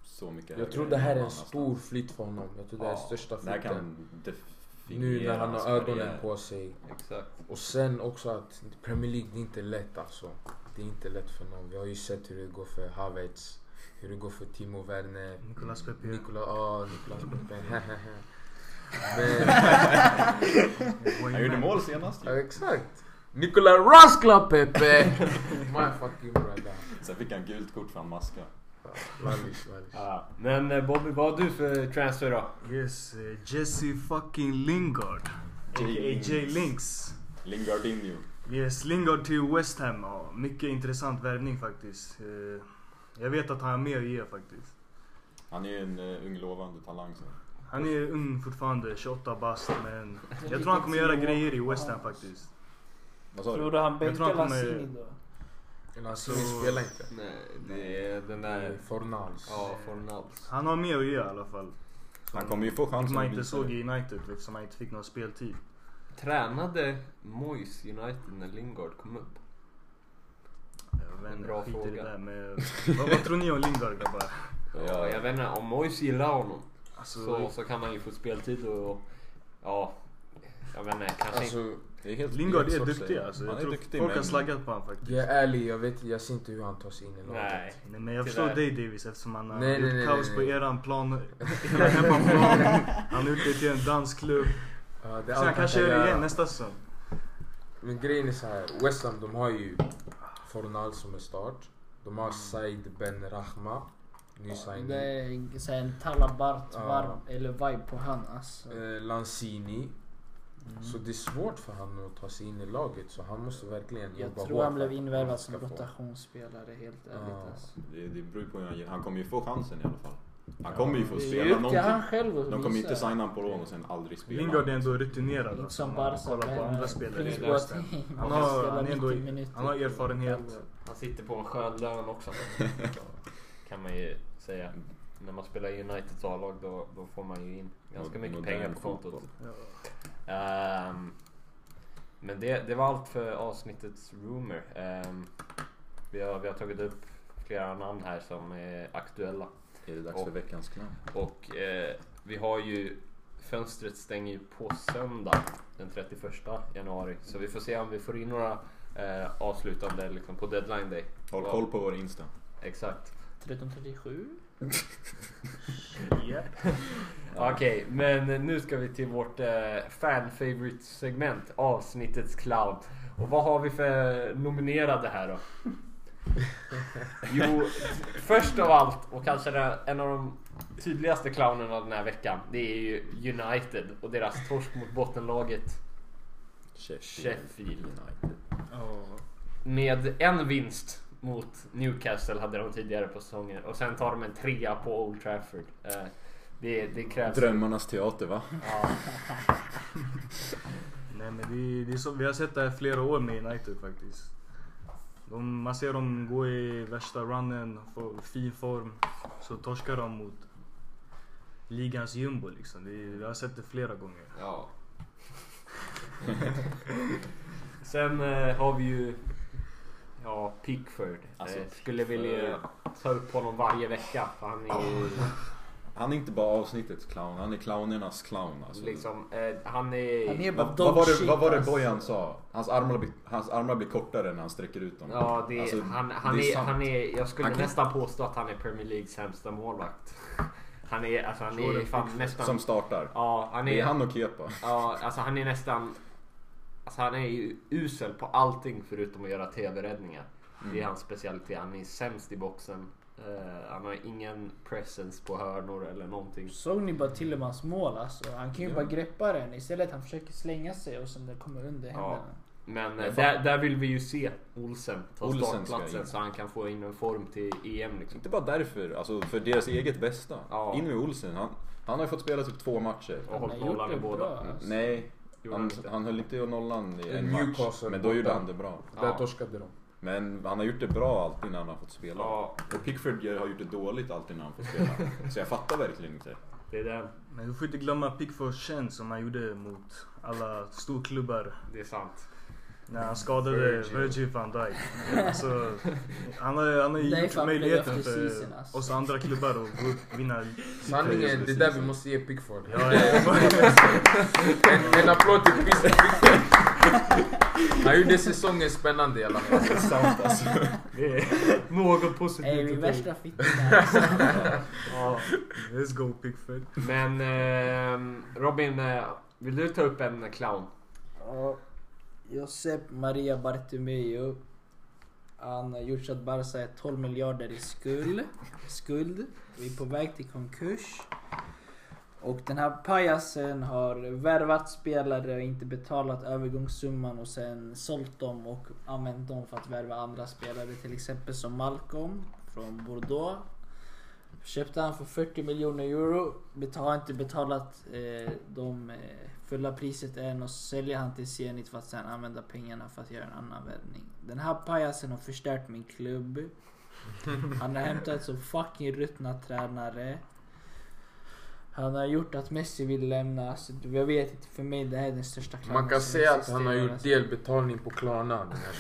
S3: så mycket
S2: Jag tror
S3: än
S2: det här är
S3: någon
S2: en stor
S3: annanstans.
S2: flytt för honom. Jag tror det här är
S3: Ja,
S2: största
S3: Det här
S2: flytten.
S3: kan definiera
S2: Nu när han
S3: hans
S2: har ögonen
S3: karriär.
S2: på sig.
S1: Exakt.
S2: Och sen också att Premier League, det är inte lätt alltså. Det är inte lätt för någon. Vi har ju sett hur det går för Havertz. Hur det går för Timo Werner.
S5: Nicolas Pepe.
S2: Nicolas, ja Nicolas Pepe. Men,
S5: Wayne
S3: Han gjorde
S5: Mann.
S3: mål senast
S2: ja,
S3: ju.
S2: exakt. Nicolas Raskla Pepe! My fucking brother.
S3: Sen fick han gult kort för han maskade.
S2: Manish, manish.
S1: Ja. Men eh, Bobby, vad har du för transfer då?
S5: Yes, eh, Jesse fucking Lingard. A.k.a. J. Links.
S3: Lingardinho.
S5: Yes, Lingard till West Ham. Ja, mycket intressant värvning faktiskt. Eh, Jag vet att han har mer att ge faktiskt.
S3: Han är ju en uh, ung lovande talang. Så.
S5: Han är ung fortfarande, 28 bast men jag
S6: liten
S5: tror han kommer göra
S6: tio år.
S5: grejer i West Ham
S6: Ja.
S5: faktiskt.
S3: Vad sa
S6: Tror
S3: du?
S6: du han
S5: Jag tror
S6: bänkar
S5: han kommer-
S6: Lassini då?
S2: Eller
S5: Alltså-
S2: Lassini spelar inte.
S1: Nej, det är den där...
S2: Fornals.
S1: Ja, Fornals.
S5: Han har mer att ge i alla fall.
S3: Han kommer ju få
S5: Som
S3: chansen
S5: man
S3: att
S5: inte
S3: visa
S5: såg
S3: det.
S5: i United eftersom han inte fick någon speltid.
S1: Tränade Moyes United när Lingard kom upp?
S5: Jag vet
S1: En
S5: inte,
S1: bra
S5: jag skiter i det
S1: fråga.
S5: där men... vad, vad tror ni om Lingard grabbar?
S1: Ja, jag vet inte, om Moyes gillar honom
S5: Alltså,
S1: så, så kan han ju få speltid och... Ja, jag vet inte, kanske inte...
S2: Alltså,
S3: Det är helt
S5: Lingard
S3: helt
S5: är
S3: sorts-
S5: duktig alltså. Jag
S3: Han är
S5: tror
S3: duktig
S5: folk
S3: men...
S5: har slaggat på honom faktiskt.
S2: jag är ärlig, jag, vet, jag ser inte hur han tar sig in i laget.
S1: Nej.
S5: Nej, men jag
S1: Tyvärr.
S5: förstår dig Davis eftersom han har
S2: Nej,
S5: gjort
S2: nej, nej,
S5: kaos
S2: nej,
S5: på
S2: nej.
S5: eran plan, era hemmaplan. Han har gjort det till en dansklubb.
S2: Ja, det är allt
S5: Så han kanske
S2: kan
S5: gör det
S2: göra.
S5: igen nästa säsong.
S2: Men grejen är så här. West Ham de har ju Fornal som är start. De
S5: Mm.
S2: har Said Ben Rahma. Ny signing.
S6: Det är en- så här en talabart
S2: Ja.
S6: varm eller vibe på han alltså.
S2: Eh, Lanzini.
S6: Mm.
S2: Så det är svårt för han att ta sig in i laget så han måste verkligen
S6: Jag
S2: jobba hårt.
S6: tror han blev
S2: för att
S6: invärvad
S2: ska
S6: som
S2: få-
S6: rotationsspelare helt ärligt
S2: Ja.
S6: alltså.
S3: Det, det beror ju på hur han Han kommer ju få chansen i alla fall. Han
S2: Ja.
S3: kommer ju få
S6: Det
S3: spela
S6: är upp till han
S3: någonting.
S6: själv
S3: De
S6: att
S3: kommer ju inte
S6: visa.
S3: signa honom på lån och sen aldrig spela.
S5: Lingard är ändå rutinerad
S6: Inte
S5: alltså.
S6: som
S5: om man
S6: liksom Barca.
S5: kollar på
S6: men
S5: andra spelare
S6: Prince
S5: i West Ham.
S6: Boateng.
S5: Han har-
S6: Spela
S5: han är ändå-
S6: 90 minuter.
S5: han har erfarenhet.
S1: Han sitter på en skön lön också. kan man ju säga. När man spelar i Uniteds A-lag då, då får man ju in ganska mycket
S3: Modern
S1: pengar på kontot.
S3: fotboll.
S5: Ja.
S1: Ehm, men det, det var allt för avsnittets rumor. Ehm, vi, har, vi har tagit upp flera namn här som är aktuella.
S3: Är det dags för
S1: Och-
S3: veckans knapp?
S1: Och eh, vi har ju fönstret stänger ju på söndag den 31 januari. Så vi får se om vi får in några eh, avslutande liksom, på deadline day.
S3: Håll
S1: Ja,
S3: koll på vår Insta.
S1: Exakt.
S6: 1337.
S5: Yeah.
S1: Okej, men nu ska vi till vårt eh, fan favorite segment avsnittets clown. Och vad har vi för nominerade här då? Jo, först av allt och kanske det- en av de tydligaste clownerna den här veckan. Det är ju United och deras torsk mot bottenlaget Sheffield.
S3: United.
S5: Ja.
S1: Med en vinst mot Newcastle hade de tidigare på säsongen och sen tar de en trea på Old Trafford. Eh, det, det krävs...
S3: Drömmarnas teater va?
S1: Ja,
S5: Nej men det, är- det är så, vi har sett det här flera år med United faktiskt. De, man ser dem gå i värsta runnen, få fin form. Så torskar de mot ligans jumbo liksom. Det, vi har sett det flera gånger.
S1: Ja. Sen eh, har vi ju ja, Pickford.
S3: Alltså,
S1: eh, skulle vilja ta upp honom varje vecka för han är ju
S3: Han är inte bara avsnittets clown, han är clownernas clown alltså.
S1: liksom... Eh, han är...
S6: Han är bara
S3: Vad, vad, var det,
S6: dog
S3: vad var det
S6: shit,
S3: Bojan
S6: alltså.
S3: sa? Hans armar, blir- hans armar blir kortare när han sträcker ut dem.
S1: Ja, det,
S3: Alltså,
S1: han, han,
S3: det
S1: är,
S3: sant.
S1: han är... Jag skulle
S3: Han kan-
S1: nästan påstå att han är Premier Leagues sämsta målvakt. Han är, alltså, han
S5: Så är
S1: är
S5: det
S1: fan
S5: Pickford.
S1: nästan...
S3: Som startar.
S1: ja, han
S3: Det
S1: är,
S3: är han och Kepa.
S1: ja, alltså han är nästan... Alltså han är ju
S3: Mm.
S1: usel på allting förutom att göra TV-räddningar. Det är hans specialitet. Han är sämst i boxen, Eh, han har ingen presence på hörnor eller någonting.
S6: Såg ni bara till och med hans mål alltså? Han kan ju
S3: Ja.
S6: bara greppa den istället. Han försöker slänga sig och sen det kommer under
S1: Ja.
S6: händerna.
S1: Men eh,
S3: Jag fan-
S1: där, där vill vi ju se Olsen ta
S3: Olsen ska
S1: startplatsen
S3: in.
S1: så han kan få in en form till EM liksom.
S3: Inte bara därför, alltså för deras eget bästa.
S1: Ja.
S3: In med Olsen. Han, han har ju fått spela typ två matcher.
S1: Och
S6: Han
S1: hållit
S6: har gjort
S1: nollan i
S6: det bra.
S1: båda.
S6: Alltså.
S3: Nej,
S1: Gjorde han
S3: han,
S1: inte.
S3: han höll inte nollan i en match.
S2: Newcastle
S3: Men då gjorde
S2: borta.
S3: han det bra.
S2: Där
S1: Ja.
S2: torskade de.
S3: Men han har gjort det bra alltid när han har fått spela.
S1: Ja,
S3: Och Pickford har gjort det dåligt alltid när han fått spela. Så jag fattar verkligen inte.
S1: det är den.
S5: Men du får inte glömma Pickfords tjänst som han gjorde mot alla storklubbar.
S1: Det är sant.
S5: När han skadade
S2: Virgil.
S5: Virgil van Dijk. Alltså, han har, han har
S4: Det
S5: ju
S4: är
S5: gjort
S4: fan
S5: möjligheten
S4: playoff
S5: för
S4: season, alltså.
S5: oss andra klubbar att gå upp vinna.
S2: Sanningen,
S3: just
S2: det är
S3: precis.
S2: där vi måste ge Pickford.
S5: Ja, ja.
S2: En, en applåd till Pickford. Han gjorde säsongen spännande i alla fall.
S3: Det är sant alltså.
S5: Det är något positivt
S6: Ey, vi är
S5: att ta ut.
S6: värsta fittorna. alltså.
S5: Ja, Let's go Pickford.
S1: Men ehm, Robin, eh, vill du ta upp en clown?
S6: Ja, Josep Maria Bartomeu. Han har gjort så att Barca är 12 miljarder i skuld. skuld. Vi är på väg till konkurs. Och den här pajasen har värvat spelare och inte betalat övergångssumman och sen sålt dem och använt dem för att värva andra spelare. Till exempel som Malcolm från Bordeaux. Köpte han för 40 miljoner euro. Bet- Har inte betalat eh, de eh, fulla priset än och så säljer han till Zenit för att sen använda pengarna för att göra en annan värvning. Den här pajasen har förstört min klubb. Han har hämtat så fucking ruttna tränare. Han har gjort att Messi vill lämna. Alltså, jag vet inte, för mig det här är den största clownen
S2: Man kan
S6: som
S2: säga att han
S6: existerar,
S2: har gjort
S6: alltså.
S2: delbetalning på Klarna. den här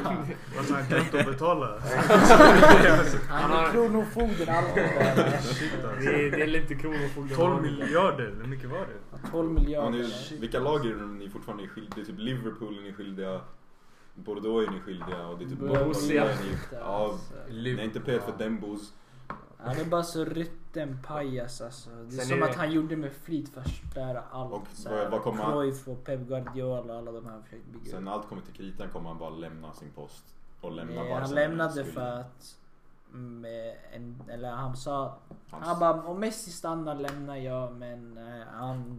S2: sesongen.
S5: Alltså han kan inte betala.
S6: Han
S1: Han har-
S6: är kronofogden alltid där.
S5: Shit alltså.
S1: Det, det är inte Kronofogden.
S5: 12 miljarder, hur mycket var det?
S6: 12
S3: Ja,
S6: miljarder.
S3: nu, vilka lag är det ni fortfarande är skyldiga? Typ Liverpool är ni skilda. Bordeaux är ni skyldiga. Och det är typ
S1: Borussia.
S3: är ni- Ja,
S6: Alltså.
S3: ni har inte pelat för Dembos.
S6: Han är bara så rutten pajas alltså. Det är
S1: Sen
S6: som
S1: är det-
S6: att han gjorde med flit för att förstöra allt.
S3: Och
S6: så
S3: vad-
S6: här,
S3: vad kommer han-
S6: Cruyff och Pep Guardiola och alla de här han försökte bygga
S3: Sen
S6: upp.
S3: när allt kommer till kritan kommer han bara lämna sin post. Och lämna
S6: Nej,
S3: Barca
S6: Eh,
S3: när
S6: han lämnade
S3: skulle.
S6: för att... Med en, eller han sa...
S3: Hans-
S6: Han bara om Messi stannar lämnar jag men eh, han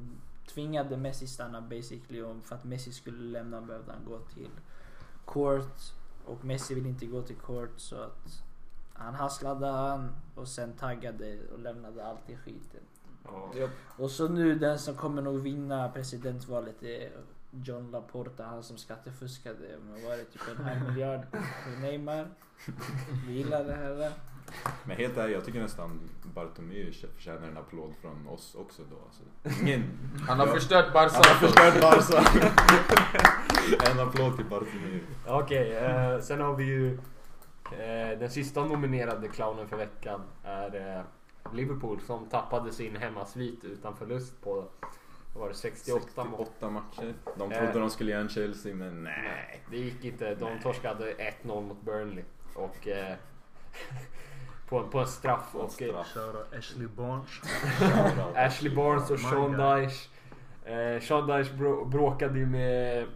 S6: tvingade Messi stanna basically och för att Messi skulle lämna behövde han gå till court och Messi vill inte gå till court så att han hasslade han och sen taggade och lämnade allt i skiten.
S1: Ja.
S6: Och så nu den som kommer nog vinna presidentvalet är John Laporta, han som skattefuskade med var det typ en halv miljard för Neymar. Vi gillar det här.
S3: Men helt ärligt, jag tycker nästan Bartomeu förtjänar en applåd från oss också då. Alltså. Ingen.
S2: Han har
S3: Ja.
S2: förstört
S3: Han har
S2: Barca.
S3: förstört Barca. en applåd till Bartomeu.
S1: Okej, eh, sen har vi ju eh, den sista nominerade clownen för veckan är eh, Liverpool som tappade sin hemmasvit utan förlust på vad var det, 68, mot...
S3: 68 matcher. De trodde
S1: Eh.
S3: de skulle göra en Chelsea, men nej.
S1: Nej, det gick inte. De torskade 1-0 mot Burnley. Och, eh, på, på en straff.
S3: På en
S1: och, eh,
S3: straff.
S5: Shoutout Ashley Barnes.
S1: Ashley Barnes och
S5: My
S1: Sean
S5: guy.
S1: Dyche. Eh, Sean Dyche brå- bråkade ju med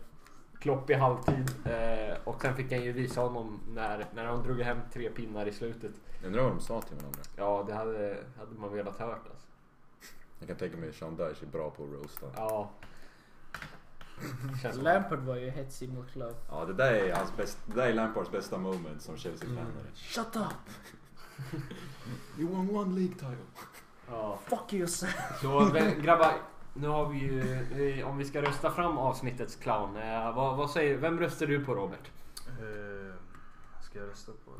S1: Klopp i halvtid eh, och sen fick han ju visa honom när, när de drog hem tre pinnar i slutet.
S3: Undrar vad de sa till varandra.
S1: Ja, det hade, hade man velat hört alltså.
S3: Jag kan tänka mig att Sean Dyche är bra på att roasta.
S1: Ja. Känns som-
S6: Lampard var ju hetsig mot Klopp.
S3: Ja, det där är, hans bäst, det där är Lampards bästa moment som
S1: Mm.
S3: Chelsea-tränare.
S6: Shut up!
S3: You won one League title.
S1: ja.
S6: Fuck you! sir.
S1: Så vä- grabbar, nu har vi ju, vi- om vi ska rösta fram avsnittets clown. Eh, vad, vad säger, vem röstar du på Robert?
S5: Eh, vad ska jag rösta på?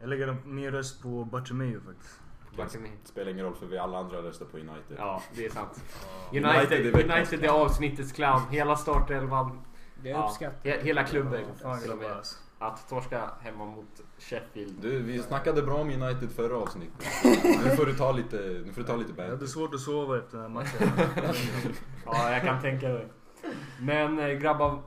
S5: Jag lägger min röst på Bartomeu faktiskt.
S1: Bartomeu.
S3: Det spelar ingen roll för vi alla andra röstar på United.
S1: Ja, det är sant.
S3: United
S1: United,
S3: är
S1: United,
S3: veckans
S1: är avsnittets clown. Hela startelvan.
S6: Jag
S1: Ja,
S6: uppskattar
S1: he- hela klubben.
S5: Fan
S1: till och
S5: grabbar
S1: med.
S5: alltså.
S1: Att torska hemma mot Sheffield.
S3: Du, vi snackade bra om United förra avsnittet. Nu får du ta lite, nu får du ta lite
S5: Jag
S3: bad.
S1: typ-
S5: hade svårt att sova efter den här matchen.
S1: Ja, jag kan tänka mig. Men eh, grabbar,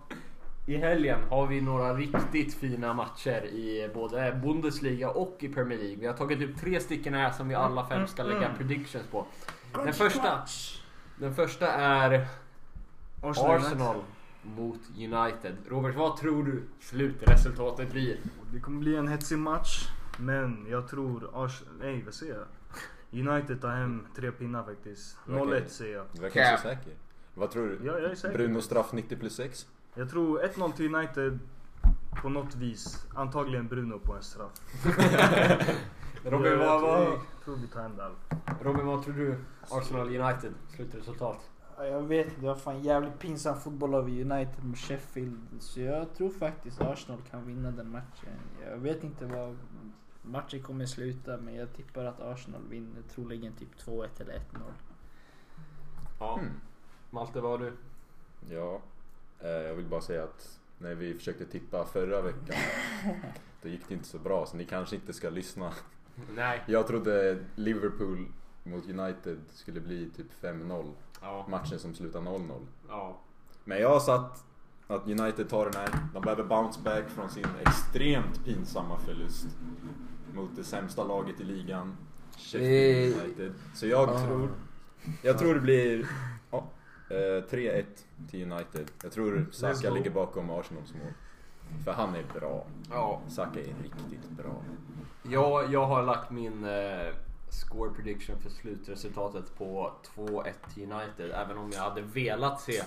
S1: i helgen har vi några riktigt fina matcher i både Bundesliga och i Premier League. Vi har tagit upp tre stycken här som vi alla fem ska lägga predictions på. Den första, den första är Arsenal mot United. Robert, vad tror du slutresultatet blir?
S5: Det kommer bli en hetsig match. Men jag tror Ars- Nej, vad säger jag? United tar hem tre pinnar faktiskt.
S3: Okej.
S5: 0-1 säger jag.
S3: Du verkar inte så
S2: Cap.
S3: säker. Vad tror du?
S5: Ja, jag är säker.
S3: Bruno straff 90 plus 6?
S5: Jag tror 1-0 till United på något vis. Antagligen Bruno på en straff.
S1: Robin,
S5: jag,
S1: vad,
S5: jag tror,
S1: vad,
S5: jag tror vi tar hem det. här.
S1: Robin, vad tror du? Arsenal United, slutresultat?
S6: Ja, Jag vet inte, det var fan jävligt pinsam fotboll av United mot Sheffield. Så jag tror faktiskt Arsenal kan vinna den matchen. Jag vet inte vad matchen kommer sluta men jag tippar att Arsenal vinner. Troligen typ 2-1 eller 1-0.
S1: Ja.
S3: Mm.
S1: Malte, vad har du?
S3: Ja, eh, jag vill bara säga att när vi försökte tippa förra veckan, då gick det inte så bra så ni kanske inte ska lyssna.
S1: Nej.
S3: Jag trodde Liverpool mot United skulle bli typ 5-0,
S1: Ja.
S3: matchen som slutar 0-0.
S1: ja.
S3: Men jag har satt att United tar den här. De behöver bounce back från sin extremt pinsamma förlust mot det sämsta laget i ligan, Sheffield
S2: Eh.
S3: United. Så jag
S2: Ah.
S3: tror, jag tror det blir ja, eh, 3-1 till United. Jag tror Saka
S5: go.
S3: ligger bakom Arsenals mål. För han är bra.
S1: ja.
S3: Saka är riktigt bra.
S1: Jag, jag har lagt min eh, score prediction för slutresultatet på 2-1 till United. Även om jag hade velat se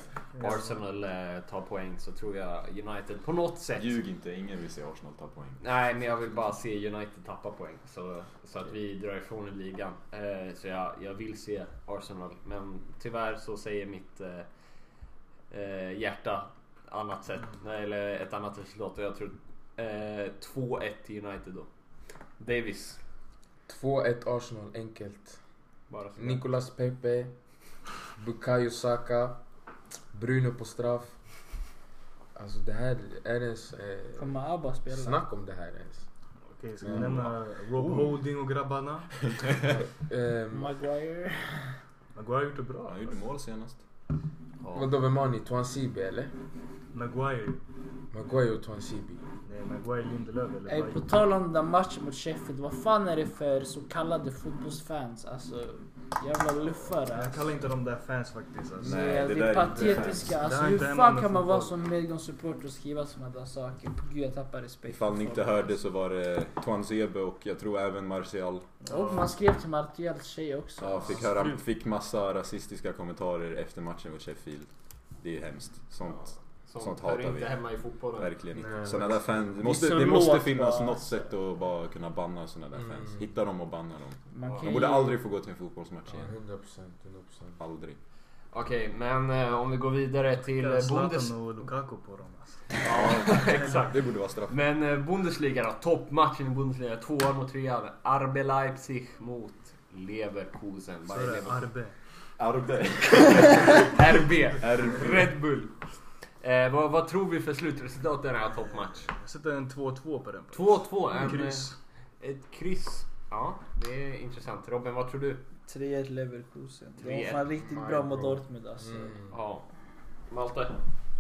S1: Arsenal eh, ta poäng så tror jag United på något sätt...
S3: Ljug inte, ingen vill se Arsenal ta poäng.
S1: Nej, men jag vill bara se United tappa poäng så, så att vi drar ifrån i ligan. Eh, så jag, jag vill se Arsenal, men tyvärr så säger mitt eh, eh, hjärta annat sätt, nej, eller ett annat resultat. Och jag tror eh, 2-1 till United då. Davis.
S2: 2-1 Arsenal, enkelt.
S1: Bara så.
S2: Nicolas Pepe, Bukayo Saka, Bruno på straff. Alltså det här, är det ens eh,
S6: Kommer ABBA spela?
S2: snack om det här ens?
S5: Okej, ska vi
S3: Mm.
S5: nämna Rob
S1: Oh.
S5: Holding och grabbarna?
S2: Ehm,
S6: Maguire?
S5: Maguire har gjort det bra.
S3: Han gjorde mål senast.
S1: Ja.
S2: Vadå vem har ni? Twansibi eller?
S5: Maguire.
S2: Maguire och Twansibi.
S5: Nej, Maguire Lindelöf eller
S6: Ey,
S5: vad?
S6: på tal om den där matchen mot Sheffield, vad fan är det för så kallade fotbollsfans? Alltså, jävla luffare. alltså.
S5: Jag kallar inte dem där fans faktiskt. Alltså.
S3: Nej,
S6: Nej,
S3: det där
S6: det,
S3: är
S6: är
S3: inte
S6: patetiska.
S5: fans.
S6: Alltså,
S5: Det är
S6: hur
S5: inte en
S6: fan
S5: annan
S6: kan man vara
S5: fotboll.
S6: som medgångssupporter och skriva såna där saker? Gud, jag tappar respekt.
S3: Ifall
S6: för
S3: ni inte
S6: folk.
S3: hörde så var det Tuanzebe och jag tror även Martial
S6: Och man skrev till Martials tjej också.
S3: Ja, fick, höra, fick massa rasistiska kommentarer efter matchen mot Sheffield. Det är hemskt. Sånt,
S1: Sånt,
S3: Sånt
S1: hör
S3: hatar
S1: inte
S3: vi.
S1: hemma i fotbollen.
S3: verkligen inte.
S2: Nej.
S3: Såna där fans, det måste,
S6: så
S3: det måste
S6: lågt
S3: finnas
S6: bara,
S3: något
S6: alltså.
S3: sätt att bara kunna banna såna där fans.
S2: Mm.
S3: Hitta dem och banna dem.
S6: Man kan
S3: De
S6: ju-
S3: borde aldrig få gå till en fotbollsmatch
S2: Ja,
S3: igen.
S2: 100%, 100%.
S3: Aldrig.
S1: Okej, men eh, om vi går vidare till eh, Bundes...
S5: Zlatan och Lukaku på dem alltså.
S1: Ja, exakt.
S3: Det borde vara straff.
S1: Men eh, Bundesliga då? Toppmatchen i Bundesliga. Tvåan mot trean. RB Leipzig mot Leverkusen.
S5: Så
S1: Bayer
S5: är det
S1: Leverkusen.
S5: Arbe.
S3: Arde.
S1: RB.
S3: Arde.
S1: Red Bull. Eh, vad, vad tror vi för slutresultat i den här toppmatchen?
S5: Jag sätter en 2-2 på den.
S1: 2-2.
S5: En
S1: En, eh,
S5: kryss.
S1: ett kryss. Ja, det är intressant. Robin, vad tror du?
S6: 3-1 Leverkusen. De
S1: 3-1.
S6: var fan riktigt
S1: My
S6: bra mot
S1: bro.
S6: Dortmund alltså.
S2: Mm.
S1: Ja. Malte?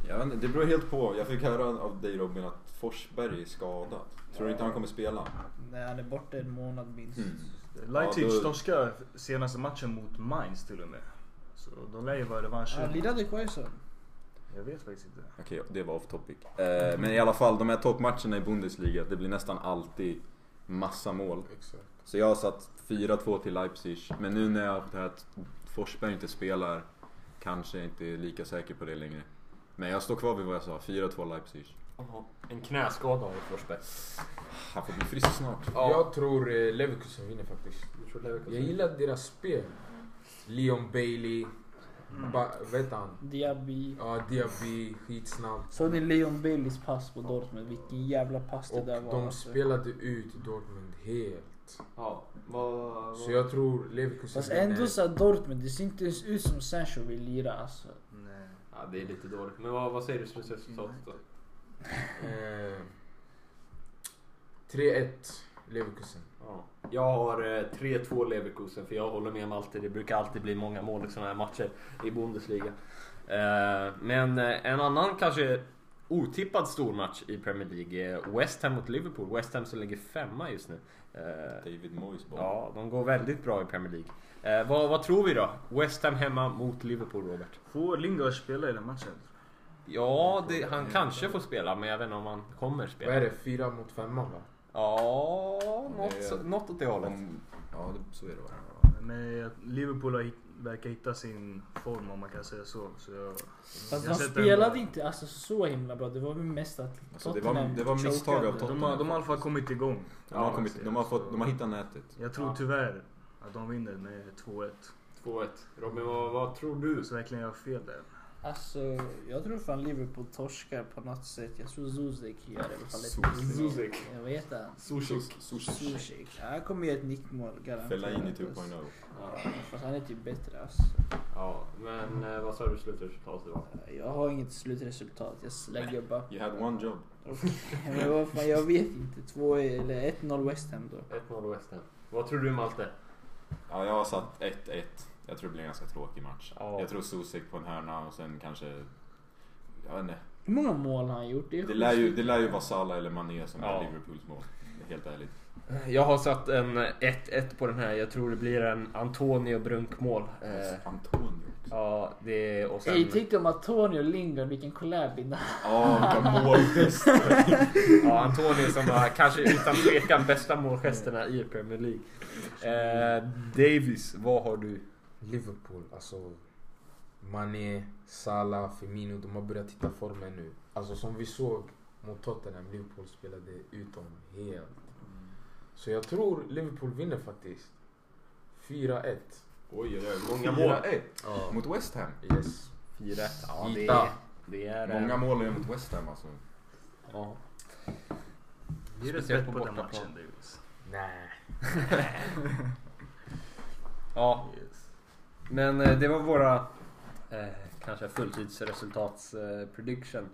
S3: Jag vet inte, det beror helt på. Jag fick höra av dig Robin att Forsberg är skadad. Tror du inte han kommer spela?
S6: Nej, han är borta en månad minst.
S3: Mm.
S5: Leipzig
S3: Ja, då-
S5: torskar senaste matchen mot Mainz till och med. Så de lär ju vara
S6: Ja,
S5: revansch.
S6: lirade Quaison?
S5: Jag vet faktiskt inte.
S3: Okej, det var off topic. Eh, men i alla fall, de här toppmatcherna i Bundesliga, det blir nästan alltid massa mål.
S2: Exakt.
S3: Så jag har satt 4-2 till Leipzig. Men nu när jag har fått höra att Forsberg inte spelar kanske jag inte är lika säker på det längre. Men jag står kvar vid vad jag sa, 4-2 Leipzig.
S1: En knäskada har ju Forsberg.
S3: Han får bli frisk snart.
S1: Ja.
S2: Jag tror eh, Leverkusen vinner faktiskt. Jag gillar deras spel. Leon Bailey, ba- vet han?
S6: Diaby.
S2: Ja, Diaby, skitsnabb.
S6: Såg ni Leon Baileys pass på Dortmund? Vilken jävla pass det
S2: Och
S6: där var.
S2: de
S6: alltså.
S2: spelade ut Dortmund helt.
S1: Ja. Vad...
S2: Så jag tror Leverkusen
S6: Fast ändå så här, Dortmund, det ser inte ens ut som Sancho vill lira alltså.
S5: Nej.
S1: Ja, det är lite dåligt. Men vad, vad säger du slutresultatet då?
S2: Eh, 3-1 Leverkusen.
S1: Ja. Jag har eh, 3-2 Leverkusen för jag håller med Malte. Det brukar alltid bli många mål i sådana här matcher i Bundesliga. Eh, men eh, en annan kanske otippad stor match i Premier League är West Ham mot Liverpool. West Ham som ligger femma just nu. Eh,
S3: David Moyes boll.
S1: ja, de går väldigt bra i Premier League. Eh, vad, vad tror vi då? West Ham hemma mot Liverpool, Robert?
S5: Får Lingard spela i den matchen?
S1: Ja, det, han kanske får spela men jag vet inte om han kommer
S2: Vad är
S1: spela.
S2: det? 4 mot 5 va?
S1: Ja, något,
S3: Det-
S1: så, något åt det hållet.
S3: De, ja, det, så är det bara.
S5: Men Liverpool har hitt- verkar hitta sin form om man kan säga så. så jag,
S4: Fast
S5: jag
S4: de
S5: sätter
S4: spelade
S5: ändå-
S4: inte alltså, så himla bra. Det var väl mest att
S3: Alltså, det var- det var misstag av
S4: chokade.
S3: Tottenham.
S5: De har, de har i alla fall kommit igång.
S3: De har,
S5: Ja,
S3: kommit, de har, fått, de har hittat nätet.
S5: Jag tror
S4: Ja.
S5: tyvärr att de vinner med 2-1.
S1: 2-1. Robin, vad, vad tror du?
S5: Så verkligen jag har fel där.
S4: Alltså, jag tror fan Liverpool torskar på något sätt. Jag tror Zuzek gör i alla fall ett
S3: Zuzek.
S1: Zuzek.
S4: Ja, Vad heter han?
S1: Zuzek.
S3: Zuzek.
S4: Zuzek. Ja, Han kommer göra ett nickmål garanterat.
S3: Fellaini
S4: alltså.
S3: 2.0.
S1: Ja.
S4: Fast han är typ bättre alltså.
S1: Ja, men eh, vad sa du slutresultatet var?
S4: Jag har inget slutresultat. Jag slänger bara.
S3: You had one job.
S4: Men vad fan, jag vet inte. 2 eller 1-0 West Ham då.
S1: 1-0 West Ham. Vad tror du Malte?
S3: Ja, jag har satt 1-1. Jag tror det blir en ganska tråkig match.
S1: Ja.
S3: Jag tror Zuzek på en hörna och sen kanske... Jag vet inte.
S4: Hur många mål har han gjort? är
S3: Det
S4: sju
S3: lär ju,
S4: stycken.
S3: det lär ju vara Salah eller Mané som
S1: Ja.
S3: är Liverpools mål. Helt ärligt.
S1: Jag har satt en 1-1 på den här. Jag tror det blir en Antonio Brunkmål. Eh,
S3: Alltså, Antonio också.
S1: ja, det är... Och sen...
S4: Ey, tänk om Antonio och Lingard, vilken collab innan.
S3: Ja, vilka målgest.
S1: Ja, Antonio som var kanske utan tvekan bästa målgesterna i Premier League. Eh, Davis, vad har du?
S2: Liverpool, alltså Mané, Salah, Firmino, de har börjat hitta formen nu. Alltså som vi såg mot Tottenham, Liverpool spelade ut dem helt. Så jag tror Liverpool vinner faktiskt. 4-1.
S3: Oj, oj, oj.
S1: Många mål.
S3: 4-1.
S2: Ja.
S3: Mot West Ham.
S2: Yes.
S1: 4 Ja, det är...
S2: Ita.
S1: Det är eh,
S3: Många mål är mot West Ham alltså.
S1: Ja.
S5: Ge det
S1: Speciellt
S5: ett på,
S1: på
S5: på den
S1: bortaplan.
S5: matchen Davis.
S2: Nej.
S1: ja,
S5: Yes.
S1: men eh, det var våra eh, kanske fulltidsresultats eh, prediction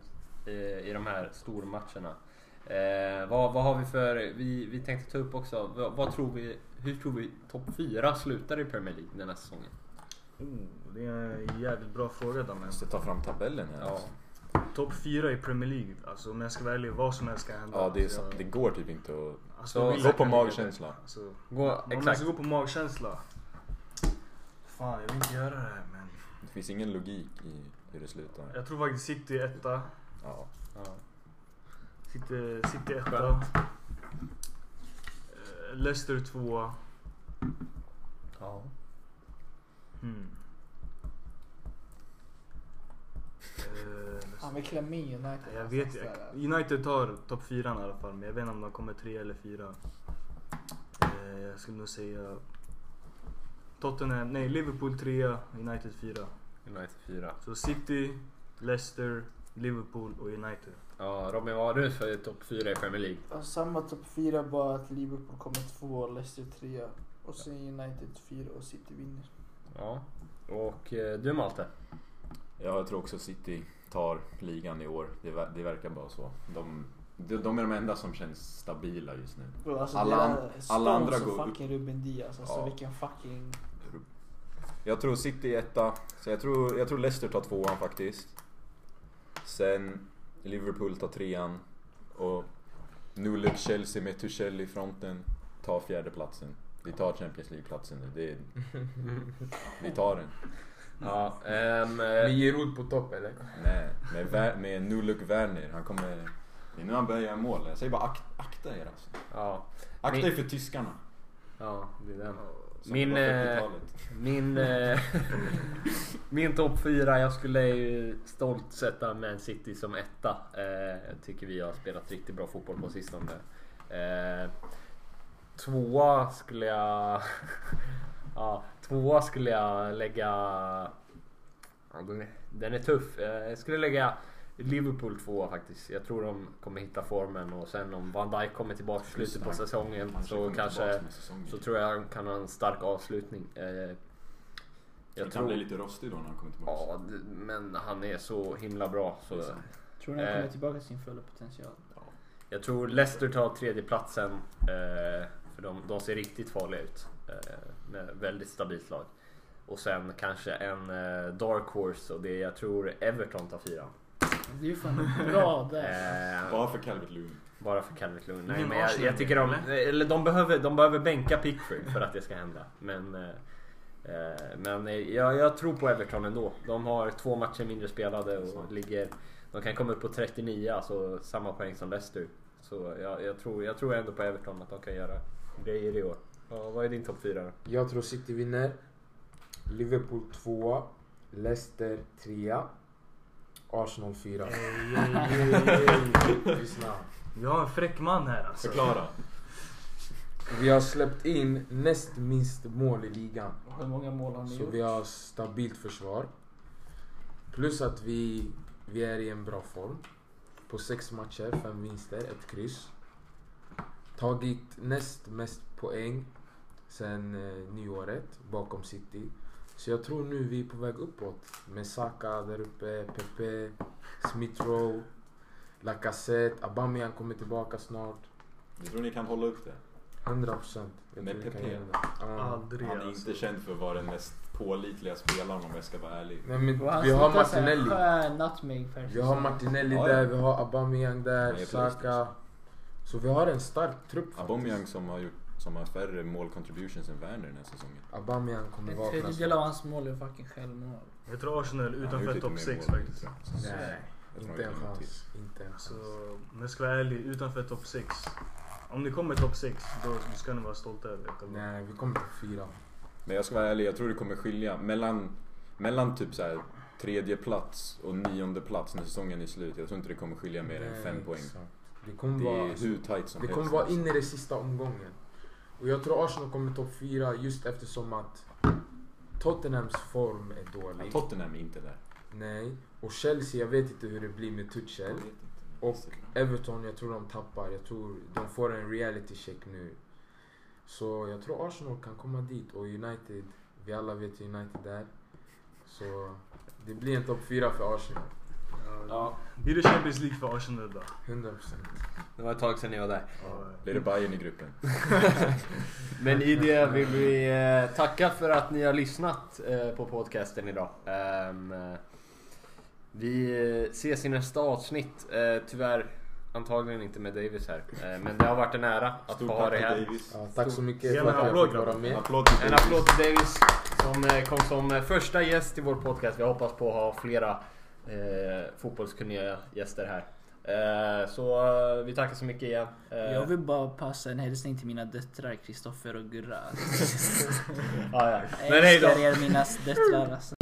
S1: i, i de här stormatcherna. Eh, vad, vad har vi för... Vi, vi tänkte ta upp också, vad, vad tror vi... Hur tror vi topp 4 slutar i Premier League den här säsongen?
S5: Oh, det är en jävligt bra fråga Dammen.
S3: Jag måste ta fram tabellen här.
S1: Ja.
S3: alltså.
S5: Topp fyra i Premier League, alltså om jag ska vara ärlig, vad som helst kan hända.
S3: Ja, det, är,
S5: Så
S3: sant.
S5: jag-
S3: det går typ inte att...
S1: Så-
S5: alltså, Villa
S3: Gå på
S5: kan ligga
S3: magkänsla.
S5: där. Alltså,
S1: Gå,
S5: om jag
S1: exakt.
S5: ska gå på magkänsla. Fan, jag vill inte göra det här men.
S3: Det finns ingen logik i hur det slutar.
S5: Jag tror faktiskt City etta.
S3: Ja.
S1: Ja.
S5: City, City etta.
S1: Skönt.
S5: Eh, Leicester tvåa.
S1: Ja.
S5: Hmm. Eh,
S4: Han vill klämma in United.
S5: jag vet
S4: någonstans där,
S5: jag,
S4: alltså.
S5: United tar topp fyran i alla fall, men jag vet inte om de kommer tre eller fyra. Eh, jag skulle nog säga Tottenham, nej Liverpool trea, United fyra.
S1: United 4.
S5: Så City, Leicester, Liverpool och United.
S1: Ja, Robin, vad har du för topp 4 i Premier League?
S4: Ja, Samma topp 4 bara att Liverpool kommer två Leicester trea. Och sen United fyra och City vinner.
S1: Ja. Och eh, du Malte?
S3: Ja, jag tror också City tar ligan i år. Det, ver- det verkar bara så. De, de, de är de enda som känns stabila just nu.
S4: Bro, alltså
S3: Alla
S4: det
S3: an-
S4: där
S3: alla
S4: Stones
S3: andra
S4: och
S3: går upp.
S4: fucking Ruben Diaz. Alltså
S3: Ja.
S4: vilken fucking...
S3: Jag tror City är etta. Så jag, tror, jag tror Leicester tar tvåan faktiskt. Sen Liverpool tar trean. Och Norwich Chelsea med Tuchel i fronten tar fjärdeplatsen. Vi tar Champions League-platsen nu. Det är, vi tar den.
S1: Ja, ehm,
S2: Med
S1: eh,
S2: Giroud på topp eller?
S3: Nej, med, Ver- med Nuluk Werner. Han kommer... Det är nu han börjar göra mål. Jag säger bara ak- akta er alltså.
S1: ja,
S3: Akta
S1: Men-
S3: er för tyskarna.
S1: ja, det är den.
S3: Som
S1: Min,
S3: på
S1: eh,
S3: 40-talet.
S1: Min, eh, min topp 4, jag skulle ju stolt sätta Man City som etta. Eh, jag tycker vi har spelat riktigt bra fotboll på sistone. Eh, tvåa skulle jag... ja, tvåa skulle jag lägga... Ja, den, är, den är tuff. Eh, jag skulle lägga Liverpool tvåa faktiskt. Jag tror de kommer hitta formen och sen om Van Dijk kommer tillbaka i slutet på säsongen
S3: Han
S1: så
S3: kommer
S1: kanske...
S3: tillbaka med säsongen.
S1: Så tror jag han kan ha en stark avslutning. Eh, jag
S3: Han kan bli lite rostig då när han kommer tillbaka.
S1: Ja, det- men han är så himla bra. Så
S3: Det är sant.
S4: Tror ni han kommer
S1: Eh.
S4: tillbaka till sin fulla potential?
S1: jag tror Leicester tar tredjeplatsen. Eh, för de, de ser riktigt farliga ut. Eh, med väldigt stabilt lag. Och sen kanske en eh, dark horse och det är- jag tror Everton tar fyran.
S4: Det är ju fan bra där.
S1: Eh,
S3: Bara för Calvert Lewin.
S1: bara för Calvert Lewin. Nej,
S5: Ingen
S1: men jag,
S5: Arsenal
S1: jag tycker de, eller de, behöver, de behöver bänka Pickford för att det ska hända. Men, eh, eh, men eh, jag, jag tror på Everton ändå. De har två matcher mindre spelade och ligger... De kan komma upp på 39, alltså samma poäng som Leicester. Så jag, jag, tror, jag tror ändå på Everton att de kan göra grejer i år. Ja, vad är din topp fyra då?
S2: Jag tror City vinner. Liverpool tvåa. Leicester trea. Arsenal fyra. Lyssna.
S5: Vi har en fräck man här alltså.
S1: Förklara.
S2: Vi har släppt in näst minst mål i ligan.
S4: Hur många mål har ni
S2: Så
S4: gjort?
S2: vi har stabilt försvar. Plus att vi, vi är i en bra form. På sex matcher, fem vinster, ett kryss. Tagit näst mest poäng sen eh, nyåret bakom City. Så jag tror nu vi är på väg uppåt med Saka där uppe, Pepe, Smith Rowe, Lacazette, Aubameyang kommer tillbaka snart.
S3: Jag tror ni kan hålla upp det.
S2: 100 procent.
S3: Med Pepe.
S2: Ja.
S5: Aldrig
S3: Han är
S5: alltså.
S3: inte känd för att vara den mest pålitliga spelaren om jag ska vara ärlig.
S2: Nej, men
S4: Och han
S2: vi har
S4: snittar så här
S2: Martinelli.
S4: skön Nutmeg per
S2: Vi har
S4: säsong.
S2: Martinelli
S3: Ja, ja.
S2: där, vi har Aubameyang där,
S3: Nej,
S2: Saka.
S3: precis.
S2: Så vi har en stark trupp faktiskt.
S3: Aubameyang som har, gjort, som har färre målcontributions än Werner den här säsongen.
S2: Aubameyang kommer
S4: En
S2: vara
S4: tredjedel av hans mål är fucking självmål.
S5: Jag tror Arsenal
S3: Han har
S5: utanför
S3: gjort
S5: topp
S3: lite mer
S5: 6
S3: mål,
S5: faktiskt.
S3: tror jag. Så
S2: Nej,
S3: jag tror
S2: inte en
S3: han kommer till.
S2: chans. Inte en
S5: Så
S2: chans.
S5: om jag ska vara ärlig, utanför topp 6. Om ni kommer topp 6, då ska ni vara stolta över er. själva.
S2: Nej, vi kommer på fyra.
S3: Men jag ska vara ärlig, jag tror det kommer skilja mellan, mellan typ så här tredje plats och nionde plats när säsongen är slut. Jag tror inte det kommer skilja mer än
S2: Nej,
S3: fem poäng.
S2: exakt. Det kommer
S3: Det
S2: vara,
S3: är hur tight som
S2: det kommer
S3: helst. alltså.
S2: vara in i den sista omgången. Och jag tror Arsenal kommer topp fyra just eftersom att Tottenhams form är
S3: Ja,
S2: dålig.
S3: Tottenham är inte där.
S2: Nej. Och Chelsea, jag vet inte hur det blir med Tuchel.
S3: Jag vet inte.
S2: Och Everton, jag tror de tappar. Jag tror de får en reality check nu. Så jag tror Arsenal kan komma dit och United, vi alla vet hur United är. Så det blir en topp fyra för Arsenal.
S1: Ja,
S5: Blir det Champions League för Arsenal då?
S2: 100 procent.
S1: det var ett tag sedan ni var där.
S5: Ja.
S3: Blir det Bayern i gruppen?
S1: Men i det vill vi eh, tacka för att ni har lyssnat eh, på podcasten idag. Ehm, eh, Vi eh, ses i nästa avsnitt. Eh, Tyvärr antagligen inte med Davis här. Eh, Men det har varit en ära att
S3: Stort
S1: få ha
S3: tack
S1: dig
S3: till
S1: här.
S3: Davis.
S2: Ja, tack så mycket
S5: Gärna
S2: för att jag
S5: applåd,
S2: fick vara
S5: grabbar.
S3: En
S2: med.
S3: applåd till
S1: En
S3: Davis.
S1: applåd till Davis som eh, kom som eh, första gäst i vår podcast. Vi hoppas på att ha flera eh, fotbollskunniga gäster här. Eh, Så eh, vi tackar så mycket igen. Eh,
S4: Jag vill bara passa en hälsning till mina döttrar Kristoffer och Gurra.
S1: Ah, ja, ja.
S4: Jag
S1: Men hej då!
S4: älskar er mina döttrar alltså.